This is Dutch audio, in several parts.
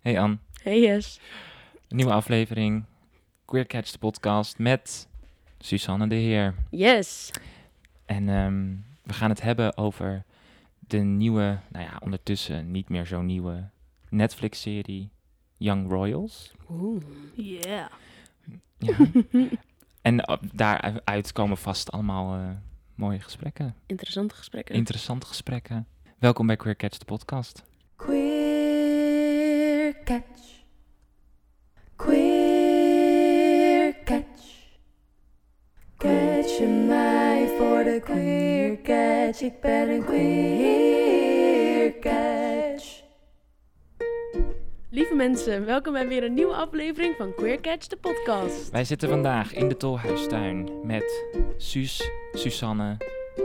Hey Ann, Hey Yes. een nieuwe aflevering Queer Catch de podcast met Susanne de Heer. Yes. En ehm, we gaan het hebben over de nieuwe, nou ja, ondertussen niet meer zo nieuwe Netflix-serie Young Royals. Oeh. Yeah. Ja. en eh, daaruit komen vast allemaal eh, mooie gesprekken, Interessante gesprekken. interessante gesprekken. Welkom bij Queer Catch de podcast. Queer catch. Queer catch. Catch je mij voor de queer catch. Ik ben een queer catch. Lieve mensen, welkom bij weer een nieuwe aflevering van Queer Catch, de podcast. Wij zitten vandaag in de Tolhuistuin met Suus, Susanne,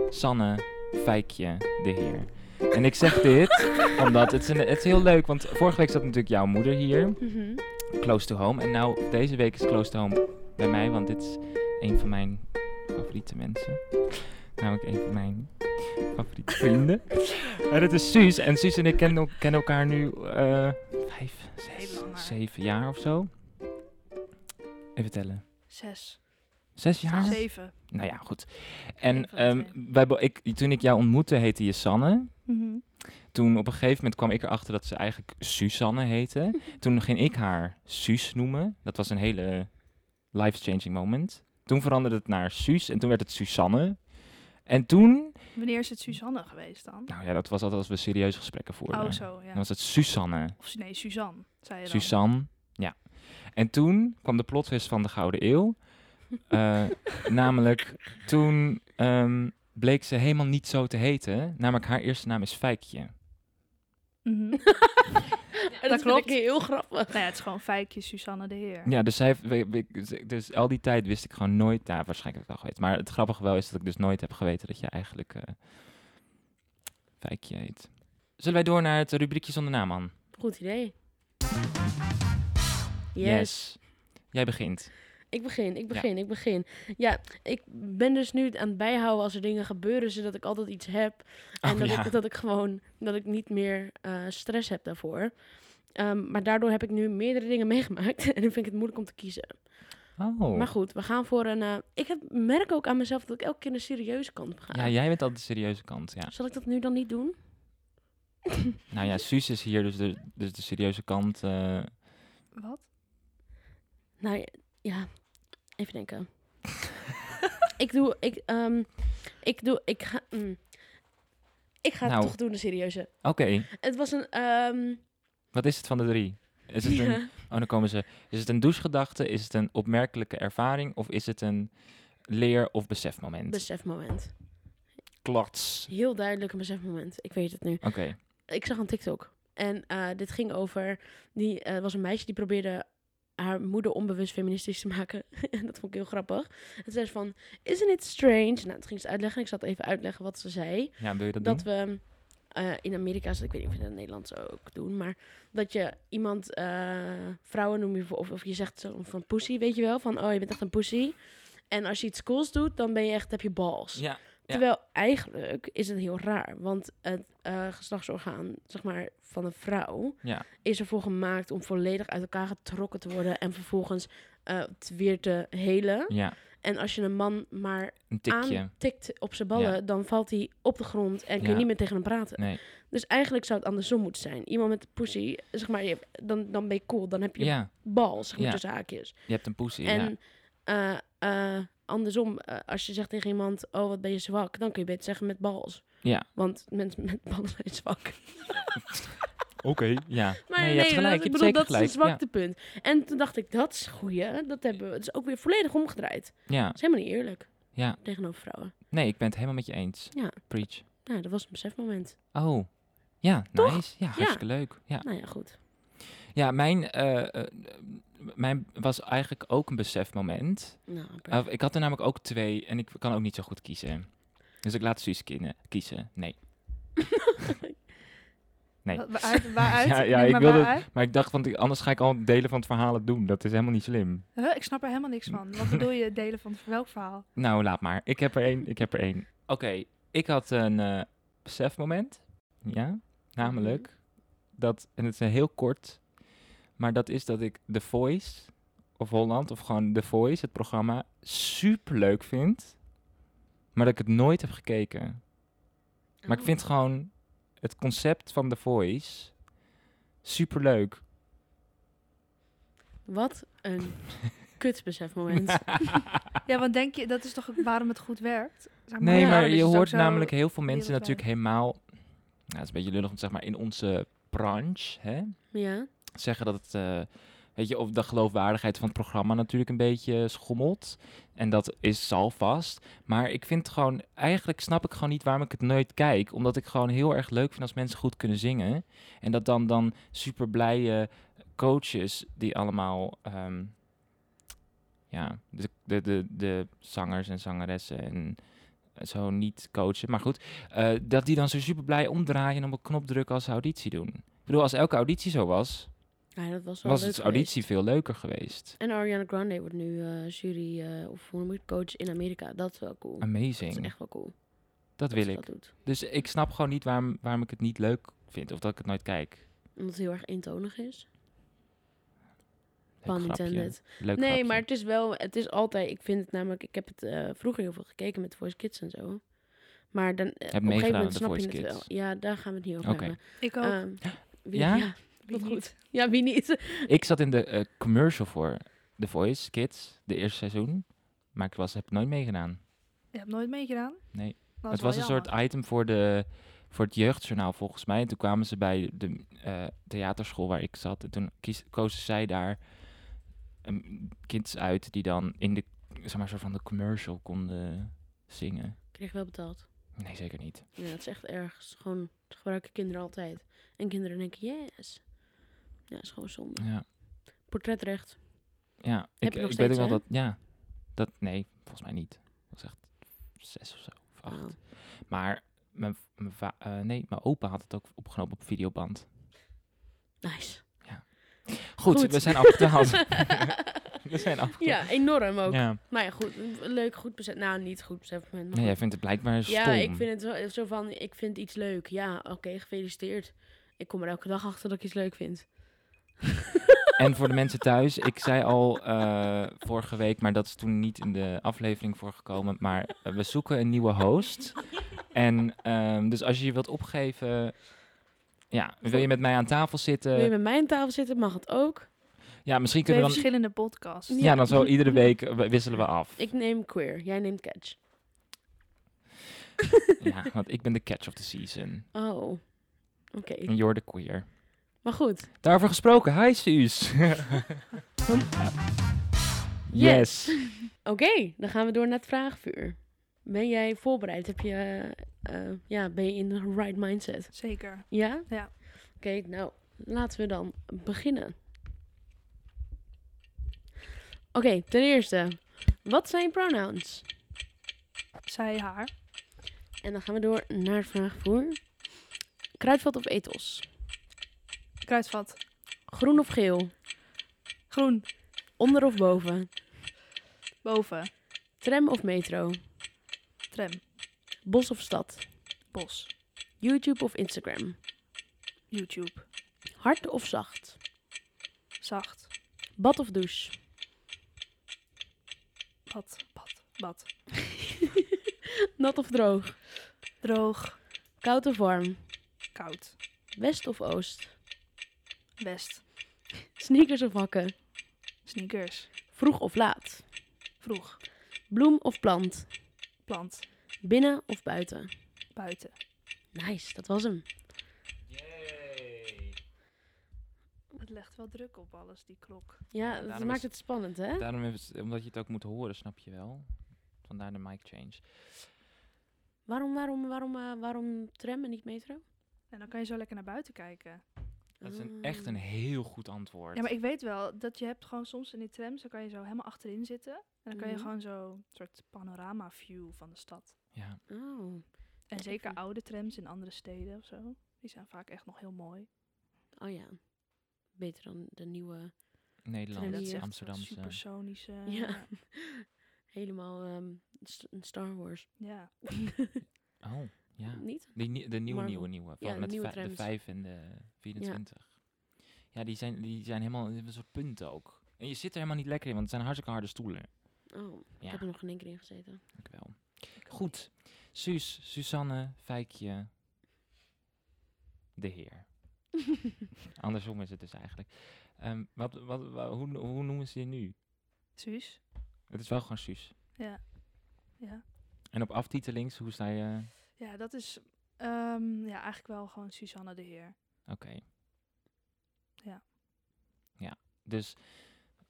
Sanne, Fijkje, de heer. En ik zeg dit omdat het is, een- het is heel leuk, want vorige week zat natuurlijk jouw moeder hier, Mhm. Close to Home. En nou, deze week is Close to Home bij mij, want dit is een van mijn favoriete mensen. Namelijk een van mijn favoriete vrienden. En het is Suus. En Suus en ik kennen el- kennen elkaar nu eh vijf, zes, Veel langer. zeven jaar of zo. Even tellen. Zes. Zes jaar? Zeven. Nou ja, goed. En Eén van de ehm, wij, be- ik, toen ik jou ontmoette, heette je Sanne. Toen op een gegeven moment kwam ik erachter dat ze eigenlijk Susanne heette. toen ging ik haar Suus noemen. Dat was een hele life-changing moment. Toen veranderde het naar Suus en toen werd het Susanne. En toen, Wanneer is het Suzanne geweest dan? nou ja, dat was altijd als we serieuze gesprekken voerden. oh, zo, ja. Dan was het Susanne. Of nee, Suzanne, zei je dan. Suzanne. Ja. En toen kwam de plotwist van de Gouden Eeuw. Eh, namelijk, toen ehm, bleek ze helemaal niet zo te heten. Namelijk, haar eerste naam is Fijkje. Mhm. dat klopt. dat klopt. vind ik heel grappig. nou ja, het is gewoon feitje Suzanne de Heer. Ja, dus, zij, heeft- we- we- dus al die tijd wist ik gewoon nooit, daar waarschijnlijk heb ik het al geweten. Maar het grappige wel is dat ik dus nooit heb geweten dat je eigenlijk eh Fijkje heet. Zullen wij door naar het rubriekje zonder naam, man? Goed idee. Jij begint. Ik begin, ik begin, ik begin. Ja, ik ben dus nu aan het bijhouden als er dingen gebeuren, zodat ik altijd iets heb. En Oh, dat, ja. ik, dat ik gewoon, dat ik niet meer eh, stress heb daarvoor. Ehm, maar daardoor heb ik nu meerdere dingen meegemaakt en nu vind ik het moeilijk om te kiezen. Oh. Maar goed, we gaan voor een... eh, ik heb, merk ook aan mezelf dat ik elke keer een serieuze kant op ga. Ja, jij bent altijd de serieuze kant, ja. Zal ik dat nu dan niet doen? Nou ja, Suus is hier, dus de, dus de serieuze kant. eh, Wat? Nou ja, ja, even denken. ik doe, ik, ehm, ik doe, ik ga, mm. ik ga Nou. het toch doen, de serieuze. Oké, Het was een, ehm wat is het van de drie? Is het een, ja. oh, dan komen ze. Is het een douchegedachte? Is het een opmerkelijke ervaring? Of is het een leer- of besefmoment? besefmoment. Klots. Heel duidelijk een besefmoment. Ik weet het nu. Oké. ik zag een TikTok. En eh, dit ging over. Die eh, was een meisje die probeerde haar moeder onbewust feministisch te maken. en dat vond ik heel grappig. En zei ze van: Isn't it strange? Nou, het ging ze uitleggen. Ik zat even uitleggen wat ze zei. Ja, wil je dat, Dat doen? we eh, in Amerika, ik weet niet of je dat in Nederland zo ook doen, maar dat je iemand, eh, vrouwen noem je, voor- of, of je zegt zo van pussy, weet je wel, van oh je bent echt een pussy. En als je iets cools doet, dan ben je echt, heb je balls. Ja. Ja. Terwijl eigenlijk is het heel raar, want het eh, geslachtsorgaan zeg maar, van een vrouw Ja. is ervoor gemaakt om volledig uit elkaar getrokken te worden en vervolgens eh, het weer te helen. Ja, En als je een man maar een tikje. aantikt op zijn ballen, dan valt hij op de grond en kun je Ja. niet meer tegen hem praten. Nee. Dus eigenlijk zou het andersom moeten zijn. Iemand met de pussy, zeg maar, je, dan, dan ben je cool, dan heb je Ja, bal, zeg maar, Ja. tussen haakjes. je hebt een poesie. ja. En eh, eh, andersom, eh, als je zegt tegen iemand, oh wat ben je zwak, dan kun je beter zeggen met bals. Ja. Want mensen met ballen zijn zwak. Oké. Ja. nee, Maar nee, je hebt dat- gelijk. je hebt ik bedoel, zeker dat gelijk. is een zwaktepunt. En toen dacht ik, dat is goeie. hè. Dat hebben we. Het is ook weer volledig omgedraaid. Dat Ja. ja, is helemaal niet eerlijk ja. tegenover vrouwen. Nee, ik ben het helemaal met je eens. Ja. Preach. Nou, dat was een besefmoment. Oh. Ja, nice. Ja, hartstikke leuk. Ja. Nou ja, goed. Ja, mijn, eh, eh, mijn was eigenlijk ook een besefmoment. Nou, Uh, ik had er namelijk ook twee en ik kan ook niet zo goed kiezen. Dus ik laat Suus kiezen. kiezen. Nee. Nee. Wa- Waaruit? waaruit? Ja, ja, Nee, ik maar wilde- waaruit? Maar ik dacht, want ik- anders ga ik al delen van het verhaal het doen. Dat is helemaal niet slim. Huh, ik snap er helemaal niks van. Wat bedoel je delen van het- welk verhaal? Nou, laat maar. Ik heb er één. Ik heb er één. Oké, ik had een eh, Mhm. besefmoment. Ja, namelijk dat, en het is een heel kort. Maar dat is dat ik The Voice of Holland, of gewoon The Voice, het programma, super leuk vind. Maar dat ik het nooit heb gekeken. Maar ik Oh. vind gewoon het concept van The Voice super leuk. Oh, Wat een kutsbesefmoment. Ja, want denk je, dat is toch ook waarom het goed werkt? Zeg Nee, Ja, maar dat dus is je ook hoort zo- namelijk heel veel mensen wereldwijd. natuurlijk helemaal. Nou, het is een beetje lullig om te zeggen, maar in onze branche hè, ja. zeggen dat het. eh, weet je, of de geloofwaardigheid van het programma natuurlijk een beetje schommelt. En dat is zal vast. Maar ik vind gewoon. Eigenlijk snap ik gewoon niet waarom ik het nooit kijk. Omdat ik gewoon heel erg leuk vind als mensen goed kunnen zingen. En dat dan, dan super blije coaches die allemaal. ehm, ja, de, de, de, de zangers en zangeressen en zo niet coachen. Maar goed, eh, dat die dan zo super blij omdraaien en op een knop drukken als ze auditie doen. Ik bedoel, als elke auditie zo was, ja, nou, dat was wel was leuk het auditie geweest. veel leuker geweest. En Ariana Grande wordt nu eh, jury eh, of hoe noem je het, coach in Amerika. Dat is wel cool. Dat is Amazing. echt wel cool. Dat wil ze ik. Dat doet. Dus ik snap gewoon niet waarom, waarom ik het niet leuk vind. Of dat ik het nooit kijk. Omdat het heel erg eentonig is. Leuk Pun grapje. intended. Leuk nee, grapje. maar het is wel, het is altijd, ik vind het namelijk, ik heb het eh, vroeger heel veel gekeken met Voice Kids en zo. Maar dan, eh, op een gegeven meegedaan aan moment de snap je Voice het wel. Kids? Ja, daar gaan we het niet over Oké. hebben. Ik ook. Ehm, wie- Ja? Wie wat niet? goed. Ja, wie niet? Ik zat in de eh, commercial voor The Voice Kids, de eerste seizoen. Maar ik was, heb nooit meegedaan. Je hebt nooit meegedaan? Nee. Dat het is wel was een jammer. soort item voor, de, voor het jeugdjournaal volgens mij. En toen kwamen ze bij de eh, theaterschool waar ik zat. En toen kies, kozen zij daar een kids uit die dan in de, zeg maar, soort van de commercial konden zingen. Ik kreeg wel betaald. Nee, zeker niet. Ja, dat is echt erg. Het is Gewoon, dat gebruiken kinderen altijd. En kinderen denken, yes. Ja, dat is gewoon zonde. Ja, Portretrecht. ja Heb ik, je nog ik weet steeds, ook wel hè? dat, ja, dat, nee, volgens mij niet. Dat was echt zes of zo, of acht. Oh. Maar mijn, mijn, va- eh, nee, mijn opa had het ook opgenomen op videoband. Nou, Nice. Goed, Goed. we zijn afgedwaald. we zijn afgedwaald. Ja, enorm ook. Ja. Nou ja, goed. Leuk, goed bezet. Nou, niet goed bezet. maar- Nee, jij vindt het blijkbaar stom. ja, ik vind het zo, zo van, ik vind iets leuk. Ja, oké, gefeliciteerd. Ik kom er elke dag achter dat ik iets leuk vind. En voor de mensen thuis, ik zei al eh, vorige week, maar dat is toen niet in de aflevering voorgekomen. Maar eh, we zoeken een nieuwe host. En ehm, dus als je je wilt opgeven, ja, wil je met mij aan tafel Wil je zitten? bij mij aan tafel zitten, mag het ook. Ja, misschien Twee kunnen we dan. verschillende podcasts. Ja, dan zo iedere week eh, wisselen we af. Ik neem queer, jij neemt catch. Ja, want ik ben de catch of the season. Oh, oké. En you're the queer. Maar goed. Daarover gesproken, hi Suus. yes. Oké, dan gaan we door naar het vraagvuur. Ben jij voorbereid? Heb je, eh, eh, ja, ben je in de right mindset? Zeker. Ja? Ja. Oké, nou, laten we dan beginnen. Oké, ten eerste, wat zijn pronouns? Zij haar. En dan gaan we door naar vraagvuur. Kruidvat of etels? Kruidvat. Groen of geel? Groen. Onder of boven? Boven. Tram of metro? Tram. Bos of stad? Bos. YouTube of Instagram? YouTube. Hard of zacht? Zacht. Bad of douche? Bad. Bad. Bad. Nat of droog? Droog. Koud of warm? Koud. West of oost? West. Sneakers of hakken? Sneakers. Vroeg of laat? Vroeg. Bloem of plant? Plant. Binnen of buiten? Buiten. Nice, dat was hem. Het legt wel druk op alles, die klok. Ja, dat daarom maakt is- het spannend, hè? Daarom hebben ze- omdat je het ook moet horen, snap je wel. Vandaar de mic change. Waarom, waarom, waarom, eh, waarom tram en niet metro? En dan kan je zo lekker naar buiten kijken. Dat is een, Ah. echt een heel goed antwoord. Ja, maar ik weet wel dat je hebt gewoon soms in die trams, dan kan je zo helemaal achterin zitten. En dan kan je Mhm. gewoon zo een soort panorama view van de stad. Ja. Oh, En Ik zeker vind- oude trams in andere steden of zo. Die zijn vaak echt nog heel mooi. oh ja. Beter dan de nieuwe, Nederland, Terwijl dat die, is echt Amsterdamse. supersonische... Ja. helemaal ehm, S- Star Wars. ja. Oh, ja. Niet? Die, nie- de nieuwe, Marvel. nieuwe, nieuwe. Van Ja, de met nieuwe vij- de trams. 5 en de 24. Ja. Ja, die zijn, die zijn helemaal die hebben een soort punten ook. En je zit er helemaal niet lekker in, want het zijn hartstikke harde stoelen. Oh, ik Ja. heb er nog geen enkele in gezeten. Dank je wel. Goed. Suus, Susanne, Fijkje, de heer. Andersom is het dus eigenlijk. Ehm, wat, wat, wa- hoe, hoe noemen ze je nu? Suus. Het is wel gewoon Suus. Ja. Ja. En op aftitelings, hoe sta je? Ja, dat is ehm, ja, eigenlijk wel gewoon Susanne de Heer. Oké. Ja. Ja, dus...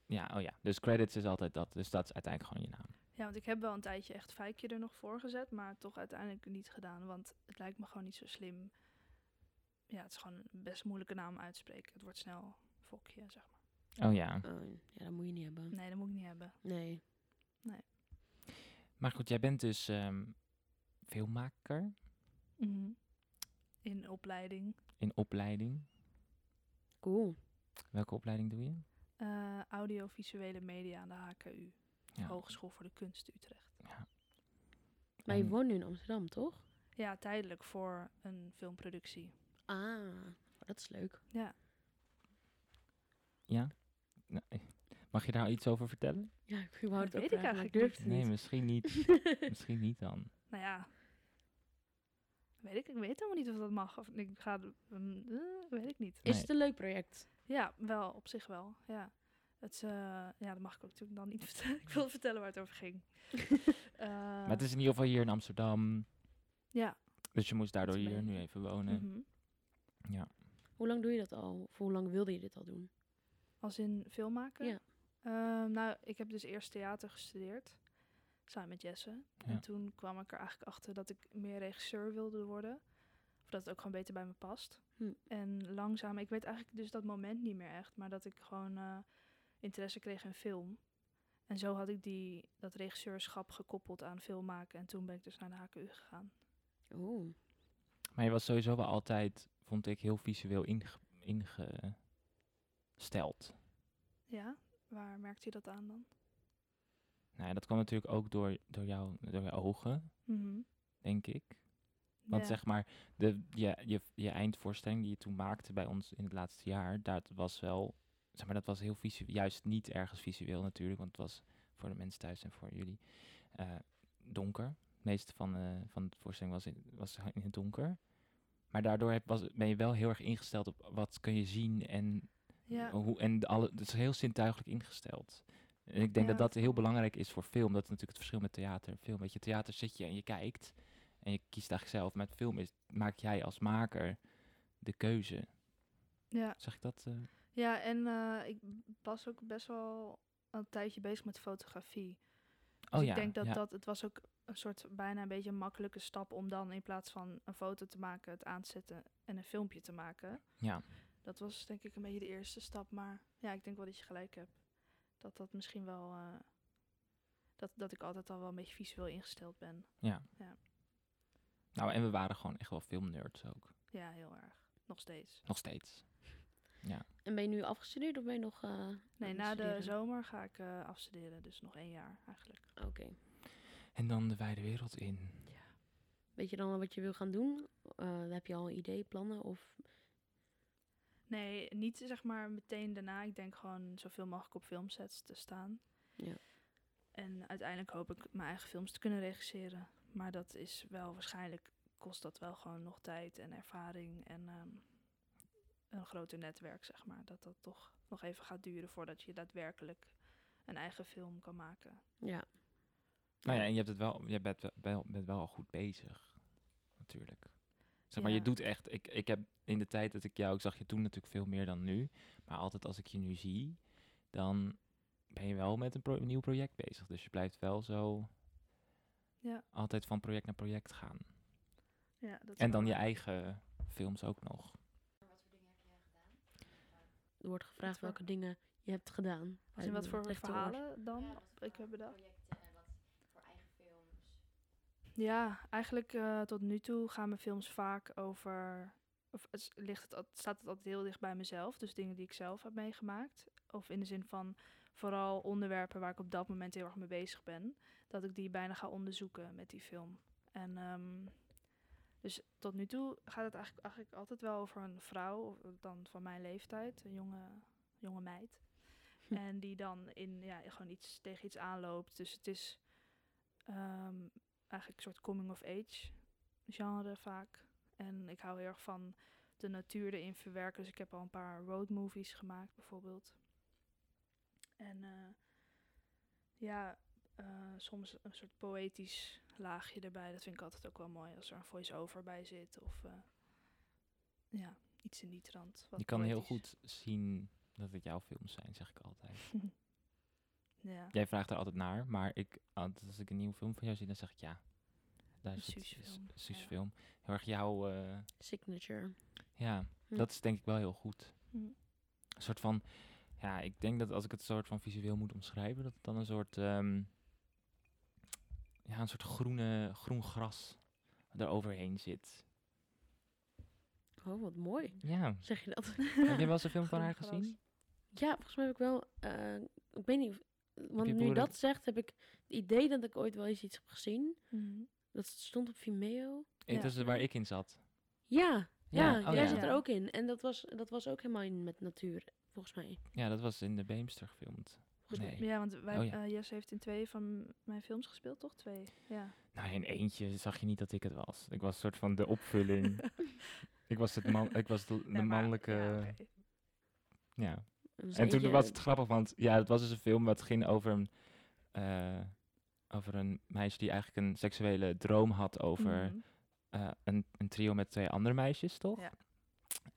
Ja, oh ja. Dus credits is altijd dat. Dus dat is uiteindelijk gewoon je naam. Ja, want ik heb wel een tijdje echt vijkje er nog voor gezet, maar toch uiteindelijk niet gedaan, want het lijkt me gewoon niet zo slim. Ja, het is gewoon een best moeilijke naam uitspreken. Het wordt snel fokje, zeg maar. Oh ja. Oh, ja, dat moet je niet hebben. Nee, dat moet ik niet hebben. Nee. Maar goed, jij bent dus ehm, filmmaker In opleiding in opleiding. Cool. Welke opleiding doe je? eh, audiovisuele media aan de HKU, Ja. Hogeschool voor de Kunst Utrecht. Maar je En- woont nu in Amsterdam, toch? Ja, tijdelijk voor een filmproductie. Ah, dat is leuk. Ja. Ja? Nou, eh, mag je daar iets over vertellen? Ja, ik wou het Dat ook weet ik vragen, maar eigenlijk durf het Nee, niet. misschien niet. misschien niet dan. Nou ja. Weet ik, ik weet helemaal niet of dat mag. Of ik ga, mm, eh, weet ik niet. Is Nee. het een leuk project? Ja, wel, op zich wel. Ja, het is, eh, ja dat mag ik ook natuurlijk dan niet vertellen. Ik wil vertellen waar het over ging. Eh, Maar het is in ieder geval hier in Amsterdam. Ja. Dus je moest daardoor Dat ben hier ik. nu even wonen. mhm. Hoe lang doe je dat al? Of hoe lang wilde je dit al doen? Als in film maken? Ja. Eh, nou, ik heb dus eerst theater gestudeerd. Samen met Jesse. Ja. En toen kwam ik er eigenlijk achter dat ik meer regisseur wilde worden. Of dat het ook gewoon beter bij me past. Hm. En langzaam, ik weet eigenlijk dus dat moment niet meer echt. Maar dat ik gewoon eh, interesse kreeg in film. En zo had ik die, dat regisseurschap gekoppeld aan film maken. En toen ben ik dus naar de HKU gegaan. Oh, Maar je was sowieso wel altijd, vond ik, heel visueel inge- ingesteld. Ja, waar merkte je dat aan dan? Nou ja, dat kwam natuurlijk ook door, door, jou, door je ogen, Mhm. denk ik. Want Ja. zeg maar, de, je, je, je eindvoorstelling die je toen maakte bij ons in het laatste jaar, dat was wel, zeg maar, dat was heel visueel, juist niet ergens visueel natuurlijk, want het was voor de mensen thuis en voor jullie eh, donker. Het meeste van, eh, van de voorstelling was in, was in het donker. Maar daardoor heb, was, ben je wel heel erg ingesteld op wat kun je zien en, ja. Oh. hoe, en de alle, het is heel zintuigelijk ingesteld. En ik denk Ja, dat dat dat heel klopt. belangrijk is voor film. Dat is natuurlijk het verschil met theater. Film, weet je, theater zit je en je kijkt. En je kiest eigenlijk zelf. Met film is, maak jij als maker de keuze. ja. Zeg ik dat? eh? Ja, en eh, ik was ook best wel een tijdje bezig met fotografie. Dus oh ik ja. denk dat, ja. dat het was ook een soort bijna een beetje een makkelijke stap om dan in plaats van een foto te maken, het aan te zetten en een filmpje te maken. Ja. Dat was denk ik een beetje de eerste stap. Maar ja, ik denk wel dat je gelijk hebt. Dat dat misschien wel. eh, dat, dat ik altijd al wel een beetje visueel ingesteld ben. Ja. Ja. Nou, en we waren gewoon echt wel filmnerds ook. Ja, heel erg. Nog steeds. Nog steeds. en ben je nu afgestudeerd of ben je nog... eh, aan Nee, het na de studeren? zomer ga ik eh, afstuderen. Dus nog één jaar eigenlijk. Oké. En dan de wijde wereld in. Weet je dan al wat je wil gaan doen? Eh, heb je al een idee, plannen? Of... Nee, niet zeg maar meteen daarna. Ik denk gewoon zoveel mogelijk op filmsets te staan. Ja. En uiteindelijk hoop ik mijn eigen films te kunnen regisseren. Maar dat is wel waarschijnlijk, kost dat wel gewoon nog tijd en ervaring en ehm, een groter netwerk, zeg maar. Dat dat toch nog even gaat duren voordat je daadwerkelijk een eigen film kan maken. Ja. Nou ja, en je, hebt het wel, je bent, wel- wel, bent wel al goed bezig, natuurlijk. Zeg maar, je Ja. doet echt... Ik, ik heb in de tijd dat ik jou... Ik zag je toen natuurlijk veel meer dan nu. Maar altijd als ik je nu zie, dan ben je wel met een, pro- nieuw project bezig. Dus je blijft wel zo Ja, altijd van project naar project gaan. ja dat is En dan wel- je eigen films ook nog. Er wordt gevraagd voor- welke dingen je hebt gedaan. Als in wat voor Echt te horen. verhalen dan? Ja, wat voor ik heb bedacht. projecten en wat voor eigen films. Ja, eigenlijk eh, tot nu toe gaan mijn films vaak over. Of het s- ligt het, al- staat het altijd heel dicht bij mezelf. Dus dingen die ik zelf heb meegemaakt. Of in de zin van vooral onderwerpen waar ik op dat moment heel erg mee bezig ben. Dat ik die bijna ga onderzoeken met die film. En ehm, Dus tot nu toe gaat het eigenlijk, eigenlijk altijd wel over een vrouw, of dan van mijn leeftijd, een jonge, jonge meid. Hm. En die dan in, ja, gewoon iets, tegen iets aanloopt. Dus het is ehm, eigenlijk een soort coming of age genre vaak. En ik hou heel erg van de natuur erin verwerken. Dus ik heb al een paar roadmovies gemaakt bijvoorbeeld. En eh, ja, eh, soms een soort poëtisch laagje erbij. Dat vind ik altijd ook wel mooi als er een voice-over bij zit. Of eh, ja, iets in die trant. wat Je kan heel poëtisch. goed zien dat het jouw films zijn, zeg ik altijd. Ja. Jij vraagt er altijd naar, maar ik, altijd als ik een nieuwe film van jou zie, dan zeg ik ja. Daar is Een het, Suus-film, is- ja. Suus-film. Heel erg jouw, eh, Signature. ja, Hm. dat is denk ik wel heel goed. Hm. Een soort van, ja, ik denk dat als ik het soort van visueel moet omschrijven, dat het dan een soort, ehm, ja, een soort groene, groen gras eroverheen zit. Oh, wat mooi. Ja. Zeg je dat? Heb je wel eens een film van Hm. haar Groen gras. gezien? Ja, volgens mij heb ik wel. eh, ik weet niet. of- Want je nu je broer dat dat- zegt, heb ik het idee dat ik ooit wel eens iets heb gezien. Mhm. Dat stond op Vimeo. Het Ja. is waar ik in zat. Ja, ja, oh jij ja. zat er Ja. ook in. En dat was, dat was ook helemaal in met natuur, volgens mij. Ja, dat was in de Beemster gefilmd. Volgens mij. Nee. Ja, want wij, Oh ja. eh, Jesse heeft in twee van mijn films gespeeld, toch? Twee. Ja. Nou, in eentje zag je niet dat ik het was. Ik was een soort van de opvulling. ik was, het man, ik was de, de Nee, maar- mannelijke... ja, Ja, oké. Dus En toen eentje- was het grappig, want ja, het was dus een film wat ging over een, eh, over een meisje die eigenlijk een seksuele droom had over Mhm. eh, een, een trio met twee andere meisjes, toch? Ja.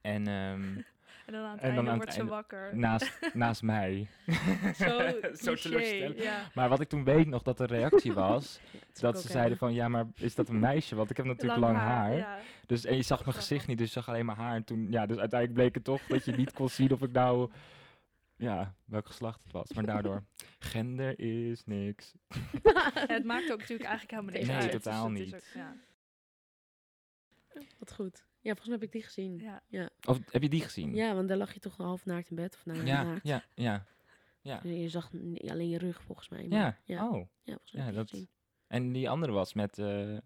En ehm, En dan aan het En dan einde aan het wordt ze einde- wakker. naast, naast mij. zo cliché, teleurstellend. Ja. Maar wat ik toen weet nog dat de reactie was, dat dat ze zeiden van, ja, maar is dat een meisje? Want ik heb natuurlijk lang, haar. Ja. Dus en je zag mijn gezicht niet, dus je zag alleen maar haar. En toen, ja, dus uiteindelijk bleek het toch dat je niet kon zien of ik nou, ja, welk geslacht het was. Maar daardoor, gender is niks. En het maakt ook natuurlijk eigenlijk helemaal niks Nee, uit. Dus totaal het is niet. ook- ja. Wat goed. Ja, volgens mij heb ik die gezien. Ja, Ja. Of heb je die gezien? want daar lag je toch half naakt in bed. Of nou, ja, naakt. ja, ja. Nee, Je zag n- alleen je rug, volgens mij. maar- Ja, ja. oh. ja, volgens mij Ja, heb ik dat- die gezien. En die andere was met, eh,